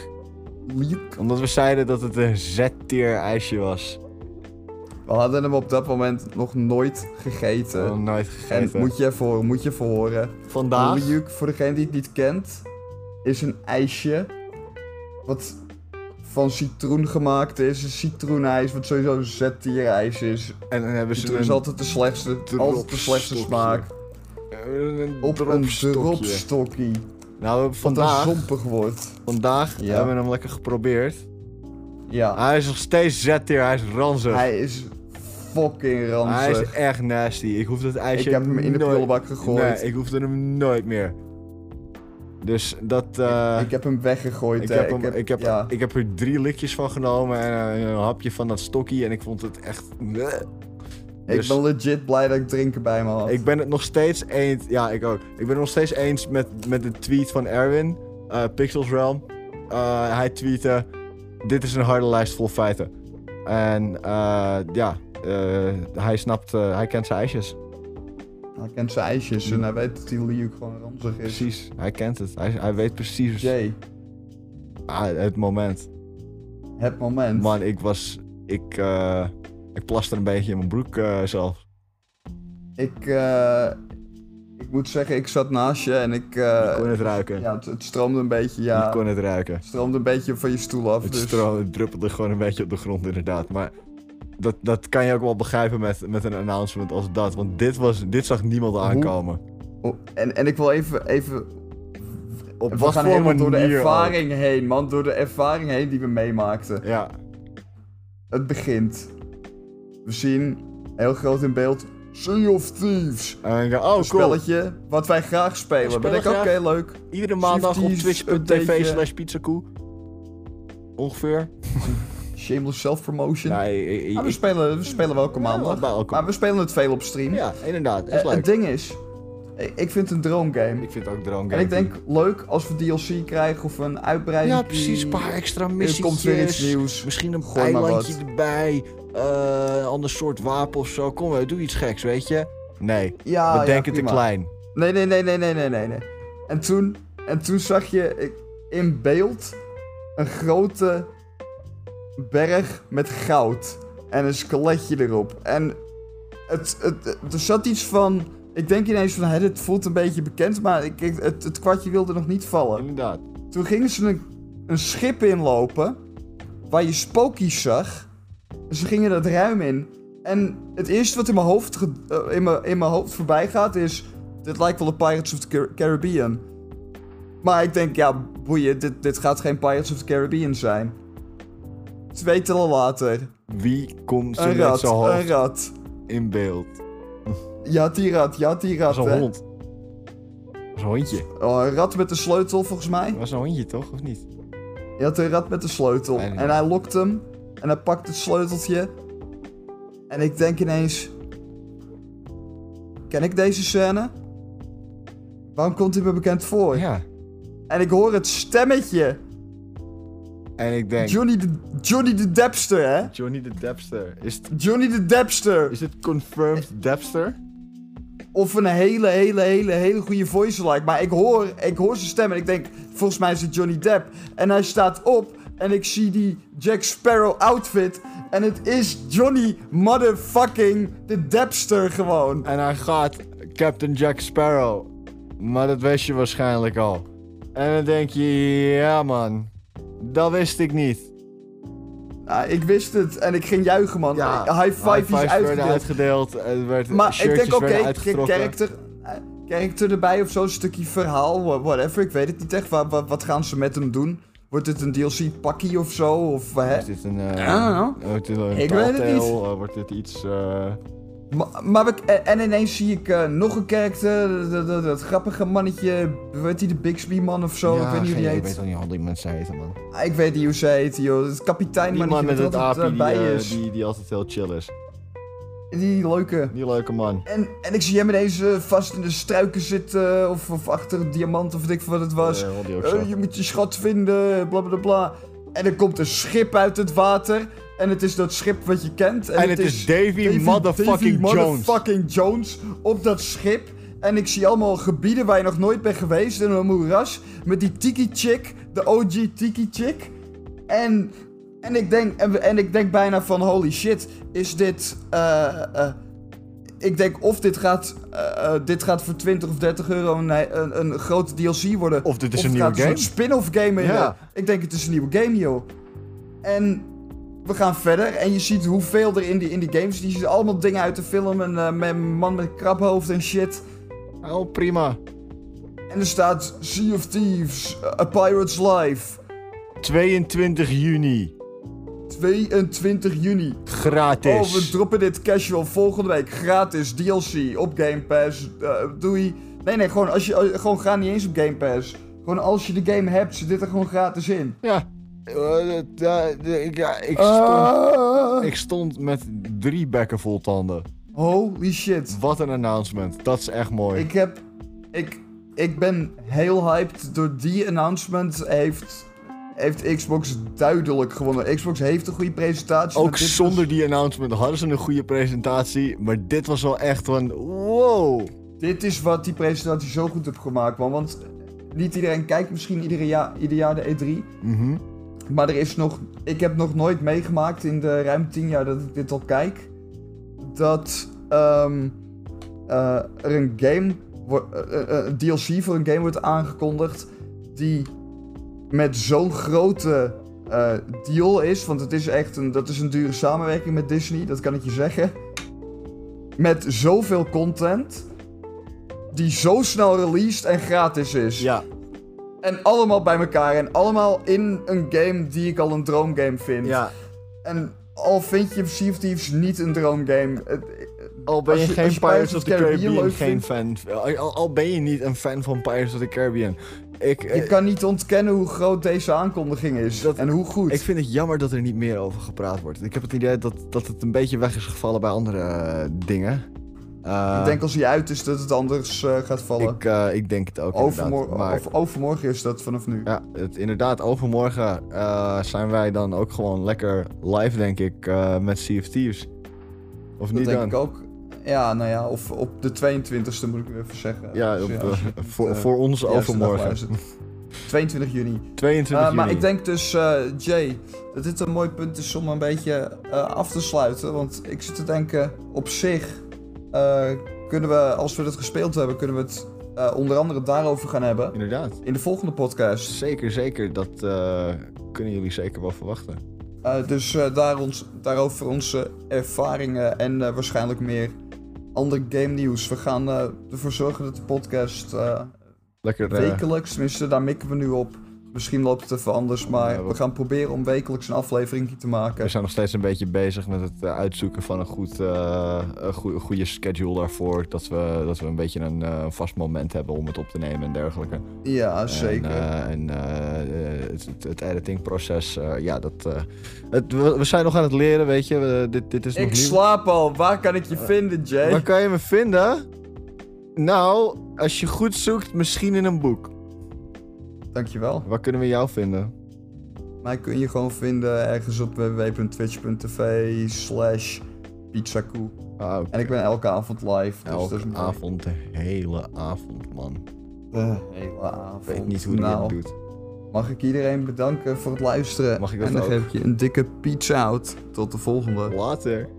[SPEAKER 3] liuk.
[SPEAKER 4] omdat we zeiden dat het een Z-tier ijsje was.
[SPEAKER 3] We hadden hem op dat moment nog nooit gegeten.
[SPEAKER 4] Nog nooit
[SPEAKER 3] en
[SPEAKER 4] Oh, gegeten.
[SPEAKER 3] moet je even horen, moet je even horen.
[SPEAKER 4] Vandaag,
[SPEAKER 3] Liuk, voor degene die het niet kent, is een ijsje wat van citroen gemaakt is. Een citroenijs, wat sowieso een Z-tier ijs is.
[SPEAKER 4] en dan hebben ze
[SPEAKER 3] Citroen Dus is
[SPEAKER 4] een,
[SPEAKER 3] altijd de slechtste, altijd de slechtste
[SPEAKER 4] dropstokje.
[SPEAKER 3] smaak.
[SPEAKER 4] een
[SPEAKER 3] Op een
[SPEAKER 4] dropstokje.
[SPEAKER 3] dropstokkie.
[SPEAKER 4] Nou, we hebben
[SPEAKER 3] Wat een
[SPEAKER 4] vandaag,
[SPEAKER 3] zompig wordt.
[SPEAKER 4] vandaag
[SPEAKER 3] Ja.
[SPEAKER 4] hebben we hem lekker geprobeerd.
[SPEAKER 3] Ja.
[SPEAKER 4] Hij is nog steeds Z-tier, hij is ranzig. Hij,
[SPEAKER 3] Hij is fucking
[SPEAKER 4] is
[SPEAKER 3] ranzig.
[SPEAKER 4] echt nasty. Ik hoef dat ijsje
[SPEAKER 3] Ik heb hem in de
[SPEAKER 4] nooit-
[SPEAKER 3] prullenbak gegooid.
[SPEAKER 4] Nee, ik hoefde hem nooit meer. Dus dat... eh,
[SPEAKER 3] ik heb hem weggegooid.
[SPEAKER 4] Ik
[SPEAKER 3] hè.
[SPEAKER 4] heb, hem, ik, heb,
[SPEAKER 3] ja.
[SPEAKER 4] ik heb er drie likjes van genomen en eh, een hapje van dat stokkie en ik vond het echt...
[SPEAKER 3] ik
[SPEAKER 4] Dus-
[SPEAKER 3] ben legit blij dat ik drinken bij me had.
[SPEAKER 4] Ik ben het nog steeds eens... Ja, ik ook. Ik ben het nog steeds eens met, met de tweet van Erwin, eh, Pixels Realm. Eh, hij tweette, dit is een harde lijst vol feiten. En eh, ja, eh, hij snapt, eh, hij kent zijn ijsjes.
[SPEAKER 3] Hij kent zijn ijsjes en hij weet dat die Liuk gewoon ranzig is.
[SPEAKER 4] Precies, hij kent het. Hij, hij weet precies
[SPEAKER 3] Jay,
[SPEAKER 4] ah, het moment.
[SPEAKER 3] het moment.
[SPEAKER 4] Man, ik was... Ik, eh, ik plaste een beetje in mijn broek eh, zelf.
[SPEAKER 3] Ik, eh, ik moet zeggen, ik zat naast je en ik...
[SPEAKER 4] Ik
[SPEAKER 3] eh,
[SPEAKER 4] kon het ruiken.
[SPEAKER 3] ja, het, het stroomde een beetje, ja.
[SPEAKER 4] Ik kon het ruiken.
[SPEAKER 3] Het stroomde een beetje van je stoel af.
[SPEAKER 4] Het,
[SPEAKER 3] dus
[SPEAKER 4] stro- het druppelde gewoon een beetje op de grond, inderdaad. Maar dat, dat kan je ook wel begrijpen met, met een announcement als dat. Want dit, was, dit zag niemand aankomen.
[SPEAKER 3] Oh, en, en ik wil even... even
[SPEAKER 4] Op
[SPEAKER 3] we
[SPEAKER 4] wat
[SPEAKER 3] gaan
[SPEAKER 4] voor
[SPEAKER 3] helemaal
[SPEAKER 4] manier
[SPEAKER 3] door de
[SPEAKER 4] ook.
[SPEAKER 3] ervaring heen, man. Door de ervaring heen die we meemaakten.
[SPEAKER 4] Ja,
[SPEAKER 3] Het begint. We zien heel groot in beeld Sea of Thieves.
[SPEAKER 4] en dan denk ik, oh
[SPEAKER 3] een
[SPEAKER 4] cool.
[SPEAKER 3] spelletje wat wij graag spelen.
[SPEAKER 4] We
[SPEAKER 3] ben
[SPEAKER 4] spelen
[SPEAKER 3] ik oké,
[SPEAKER 4] graag.
[SPEAKER 3] leuk.
[SPEAKER 4] Iedere maandag op
[SPEAKER 3] Swifties, updateje.
[SPEAKER 4] twitch.tv slash pizzakoe. Ongeveer.
[SPEAKER 3] Shameless self-promotion.
[SPEAKER 4] Nee, ik-
[SPEAKER 3] Maar we,
[SPEAKER 4] ik-
[SPEAKER 3] spelen, we spelen welke maandag.
[SPEAKER 4] bij elke-
[SPEAKER 3] Maar we spelen het veel op stream.
[SPEAKER 4] ja, inderdaad.
[SPEAKER 3] Eh,
[SPEAKER 4] Is leuk.
[SPEAKER 3] het ding is, ik, ik vind het een droomgame.
[SPEAKER 4] Ik vind het ook droom
[SPEAKER 3] En ik denk, leuk als we DLC krijgen of een uitbreiding.
[SPEAKER 4] Ja, precies. Een paar extra
[SPEAKER 3] Er
[SPEAKER 4] missies.
[SPEAKER 3] komt weer iets nieuws.
[SPEAKER 4] Misschien een
[SPEAKER 3] Gooi maar
[SPEAKER 4] eilandje
[SPEAKER 3] wat.
[SPEAKER 4] erbij. eh, een ander soort wapen of zo. Kom, eh, doe iets geks, weet je? Nee,
[SPEAKER 3] Ah, Ja,
[SPEAKER 4] we
[SPEAKER 3] ja,
[SPEAKER 4] denken te
[SPEAKER 3] prima.
[SPEAKER 4] klein.
[SPEAKER 3] Nee, nee, nee, nee, nee, nee, nee. nee. En, toen, en toen zag je ik- in beeld een grote berg met goud. En een skeletje erop. En het, het, er zat iets van. Ik denk ineens van, hè, dit voelt een beetje bekend, maar ik, ik- het, het kwartje wilde nog niet vallen.
[SPEAKER 4] Inderdaad.
[SPEAKER 3] Toen gingen ze een, een schip inlopen, waar je spookies zag. En ze gingen dat ruim in. En het eerste wat in mijn hoofd, ge- eh, in mijn, in mijn hoofd voorbij gaat is... Dit lijkt wel de Pirates of the Car- Caribbean. Maar ik denk, ja, boeien, dit, dit gaat geen Pirates of the Caribbean zijn. Twee tellen later,
[SPEAKER 4] Wie komt er
[SPEAKER 3] een
[SPEAKER 4] met
[SPEAKER 3] rat,
[SPEAKER 4] zijn
[SPEAKER 3] een
[SPEAKER 4] hoofd
[SPEAKER 3] rat.
[SPEAKER 4] in beeld?
[SPEAKER 3] Je had die rat, je had die
[SPEAKER 4] Dat
[SPEAKER 3] rat,
[SPEAKER 4] was een
[SPEAKER 3] hè.
[SPEAKER 4] hond. Dat was een hondje.
[SPEAKER 3] Oh, een rat met een sleutel, volgens mij.
[SPEAKER 4] Dat was een hondje, toch? Of niet?
[SPEAKER 3] Je had een rat met een sleutel.
[SPEAKER 4] Bijna.
[SPEAKER 3] En hij lokt hem. En hij pakt het sleuteltje. En ik denk ineens... Ken ik deze scène? Waarom komt hij me bekend voor?
[SPEAKER 4] Ja.
[SPEAKER 3] En ik hoor het stemmetje.
[SPEAKER 4] En ik denk...
[SPEAKER 3] Johnny de, Johnny de Depster, hè?
[SPEAKER 4] Johnny de Depster. Is het,
[SPEAKER 3] Johnny de Depster.
[SPEAKER 4] is het confirmed Depster?
[SPEAKER 3] Of een hele, hele, hele, hele goede voice like. Maar ik hoor, ik hoor zijn stem en ik denk, volgens mij is het Johnny Depp. En hij staat op en ik zie die Jack Sparrow outfit. En het is Johnny motherfucking de Depster gewoon.
[SPEAKER 4] En hij gaat Captain Jack Sparrow. Maar dat wist je waarschijnlijk al. En dan denk je, ja man, dat wist ik niet.
[SPEAKER 3] Nou, ik wist het en ik ging juichen, man. High
[SPEAKER 4] High
[SPEAKER 3] five is
[SPEAKER 4] fives werden
[SPEAKER 3] uitgedeeld.
[SPEAKER 4] uitgedeeld. eh, Er werd,
[SPEAKER 3] Maar ik
[SPEAKER 4] shirtjes
[SPEAKER 3] denk, oké,
[SPEAKER 4] werden
[SPEAKER 3] okay,
[SPEAKER 4] uitgetrokken.
[SPEAKER 3] character, eh, character erbij of zo'n stukje verhaal, wha- whatever. Ik weet het niet echt. Wat, wat, wat gaan ze met hem doen? Wordt het een DLC-pakkie of zo? Of, hè?
[SPEAKER 4] Is dit een... eh,
[SPEAKER 3] Ja, nou.
[SPEAKER 4] wordt dit een
[SPEAKER 3] Ik weet het
[SPEAKER 4] Telltale?
[SPEAKER 3] niet.
[SPEAKER 4] Eh, wordt dit iets... eh,
[SPEAKER 3] Maar, maar we- en ineens zie ik eh, nog een karakter, dat, dat, dat, dat grappige mannetje, weet hij de Bixby-man of zo? ik weet niet hoe die
[SPEAKER 4] geen-
[SPEAKER 3] heet.
[SPEAKER 4] Ik weet al niet hoe die mensen heten, man.
[SPEAKER 3] Ah, Ik weet niet hoe ze heet, joh. Het kapitein
[SPEAKER 4] Die man met het aapje die,
[SPEAKER 3] bij
[SPEAKER 4] eh,
[SPEAKER 3] is. Die,
[SPEAKER 4] die, die altijd heel chill is.
[SPEAKER 3] leuke.
[SPEAKER 4] Die leuke man.
[SPEAKER 3] En, en ik zie hem ineens eh, vast in de struiken zitten, eh, of, of achter een diamant, of weet ik veel wat het was.
[SPEAKER 4] Eh, die ook
[SPEAKER 3] Eh,
[SPEAKER 4] zo.
[SPEAKER 3] je moet je schat vinden, bla bla bla, bla. En er komt een schip uit het water. En het is dat schip wat je kent.
[SPEAKER 4] En het is Davy motherfucking
[SPEAKER 3] Davy
[SPEAKER 4] Jones.
[SPEAKER 3] motherfucking Jones op dat schip. En ik zie allemaal gebieden waar je nog nooit bent geweest. En een moeras met die Tiki Chick, de OG Tiki Chick. En, en, ik, denk, en, en ik denk bijna van holy shit, is dit... eh, eh, ik denk of dit gaat, eh, eh, dit gaat voor 20 of 30 euro een, eh, een, een grote DLC worden.
[SPEAKER 4] Of dit is een
[SPEAKER 3] het
[SPEAKER 4] nieuwe
[SPEAKER 3] gaat soort
[SPEAKER 4] game.
[SPEAKER 3] spin-off game in.
[SPEAKER 4] Ja.
[SPEAKER 3] Ik denk het is een nieuwe game, joh. En we gaan verder en je ziet hoeveel er in die, in die games... Je ziet allemaal dingen uit de film. Een eh, met een man met een krabhoofd en shit.
[SPEAKER 4] Oh, prima.
[SPEAKER 3] En er staat Sea of Thieves, A Pirate's Life,
[SPEAKER 4] 22 juni.
[SPEAKER 3] 22 juni. Oh, we
[SPEAKER 4] Gratis.
[SPEAKER 3] droppen dit casual volgende week gratis DLC op Game Pass. Eh, doei. Nee, nee, gewoon, als je, eh, gewoon ga niet eens op Game Pass. Gewoon als je de game hebt, zit dit er gewoon gratis in.
[SPEAKER 4] ja. Eh, eh, ja, ik- ja, ik, stond,
[SPEAKER 3] Ah.
[SPEAKER 4] ik stond met drie bekken vol tanden.
[SPEAKER 3] Holy shit.
[SPEAKER 4] Wat een announcement. Dat is echt mooi.
[SPEAKER 3] Ik heb. Ik, ik ben heel hyped. Door die announcement heeft, heeft Xbox duidelijk gewonnen. Xbox heeft een goede presentatie.
[SPEAKER 4] Ook
[SPEAKER 3] maar dit
[SPEAKER 4] zonder die announcement hadden ze een goede presentatie. Maar dit was wel echt van wow.
[SPEAKER 3] Dit is wat die presentatie zo goed heeft gemaakt, man. Want niet iedereen kijkt misschien ieder jaar, ieder jaar de E3.
[SPEAKER 4] Mhm.
[SPEAKER 3] Maar er is nog... Ik heb nog nooit meegemaakt in de ruim 10 jaar dat ik dit al kijk... dat ehm, eh, er een game... wo- eh, eh, een DLC voor een game wordt aangekondigd... die met zo'n grote eh, deal is... want het is echt een, dat is een dure samenwerking met Disney, dat kan ik je zeggen... met zoveel content... die zo snel released en gratis is...
[SPEAKER 4] Ja,
[SPEAKER 3] En allemaal bij elkaar. En allemaal in een game die ik al een droomgame vind.
[SPEAKER 4] ja.
[SPEAKER 3] En al vind je Sea of Thieves niet een droomgame. het-
[SPEAKER 4] Al ben
[SPEAKER 3] Als
[SPEAKER 4] je,
[SPEAKER 3] je-
[SPEAKER 4] geen
[SPEAKER 3] als je
[SPEAKER 4] Pirates of the Caribbean,
[SPEAKER 3] leuk
[SPEAKER 4] geen fan. Al, al ben je niet een fan van Pirates of the Caribbean. Ik, eh,
[SPEAKER 3] Je kan niet ontkennen hoe groot deze aankondiging is.
[SPEAKER 4] Dat-
[SPEAKER 3] en hoe goed.
[SPEAKER 4] ik vind het jammer dat er niet meer over gepraat wordt. Ik heb het idee dat, dat het een beetje weg is gevallen bij andere eh, dingen. Eh,
[SPEAKER 3] Ik denk als hij uit is dat het anders eh, gaat vallen.
[SPEAKER 4] ik, eh, ik denk het ook
[SPEAKER 3] Overmor-
[SPEAKER 4] inderdaad. Maar
[SPEAKER 3] of, overmorgen is dat vanaf nu.
[SPEAKER 4] ja, het, inderdaad, overmorgen eh, zijn wij dan ook gewoon lekker live, denk ik, eh, met Sea of Thieves. Of
[SPEAKER 3] dat
[SPEAKER 4] niet
[SPEAKER 3] denk
[SPEAKER 4] dan?
[SPEAKER 3] ik ook. Ja, nou ja, of op de 22e moet ik nu even zeggen.
[SPEAKER 4] Ja,
[SPEAKER 3] Dus
[SPEAKER 4] op,
[SPEAKER 3] als je
[SPEAKER 4] eh,
[SPEAKER 3] het,
[SPEAKER 4] voor,
[SPEAKER 3] eh,
[SPEAKER 4] voor ons
[SPEAKER 3] juiste dag
[SPEAKER 4] overmorgen. Ah,
[SPEAKER 3] luistert. 22 juni.
[SPEAKER 4] 22
[SPEAKER 3] Eh, maar
[SPEAKER 4] juni.
[SPEAKER 3] ik denk dus, eh, Jay, dat dit een mooi punt is om een beetje eh, af te sluiten. Want ik zit te denken, op zich eh, kunnen we, als we dat gespeeld hebben, kunnen we het eh, onder andere daarover gaan hebben.
[SPEAKER 4] Inderdaad.
[SPEAKER 3] In de volgende podcast.
[SPEAKER 4] Zeker, zeker. Dat eh, kunnen jullie zeker wel verwachten.
[SPEAKER 3] Eh, dus eh, daar ons, daarover onze ervaringen en eh, waarschijnlijk meer ander game nieuws. We gaan eh, ervoor zorgen dat de podcast eh,
[SPEAKER 4] Lekker. eh,
[SPEAKER 3] wekelijks, tenminste daar mikken we nu op. Misschien loopt het even anders, maar
[SPEAKER 4] Ja, we-
[SPEAKER 3] we gaan proberen om wekelijks een aflevering te maken.
[SPEAKER 4] we zijn nog steeds een beetje bezig met het eh, uitzoeken van een, goed, eh, een goe- goede schedule daarvoor. Dat we, dat we een beetje een eh, vast moment hebben om het op te nemen en dergelijke.
[SPEAKER 3] Ja, zeker.
[SPEAKER 4] En, eh, en eh, eh, het, het- het editingproces, eh, ja, dat. eh, het, we, we zijn nog aan het leren, weet je. We- dit, dit is nog
[SPEAKER 3] ik
[SPEAKER 4] nieuw.
[SPEAKER 3] slaap al. Waar kan ik je vinden, Jay?
[SPEAKER 4] Waar kan je me vinden? Nou, als je goed zoekt, misschien in een boek.
[SPEAKER 3] Dankjewel.
[SPEAKER 4] Waar kunnen we jou vinden?
[SPEAKER 3] Mij kun je gewoon vinden ergens op www.twitch.tv slash pizzakoe.
[SPEAKER 4] Ah, oké.
[SPEAKER 3] En ik ben elke avond live. Dus dat
[SPEAKER 4] Elke
[SPEAKER 3] is mooi.
[SPEAKER 4] avond, de hele avond, man. Ik
[SPEAKER 3] De hele avond.
[SPEAKER 4] weet niet hoe hij
[SPEAKER 3] nou,
[SPEAKER 4] het doet.
[SPEAKER 3] Mag ik iedereen bedanken voor het luisteren.
[SPEAKER 4] Mag ik dat
[SPEAKER 3] en dan
[SPEAKER 4] ook?
[SPEAKER 3] geef ik je een dikke pizza out. Tot de volgende.
[SPEAKER 4] Later.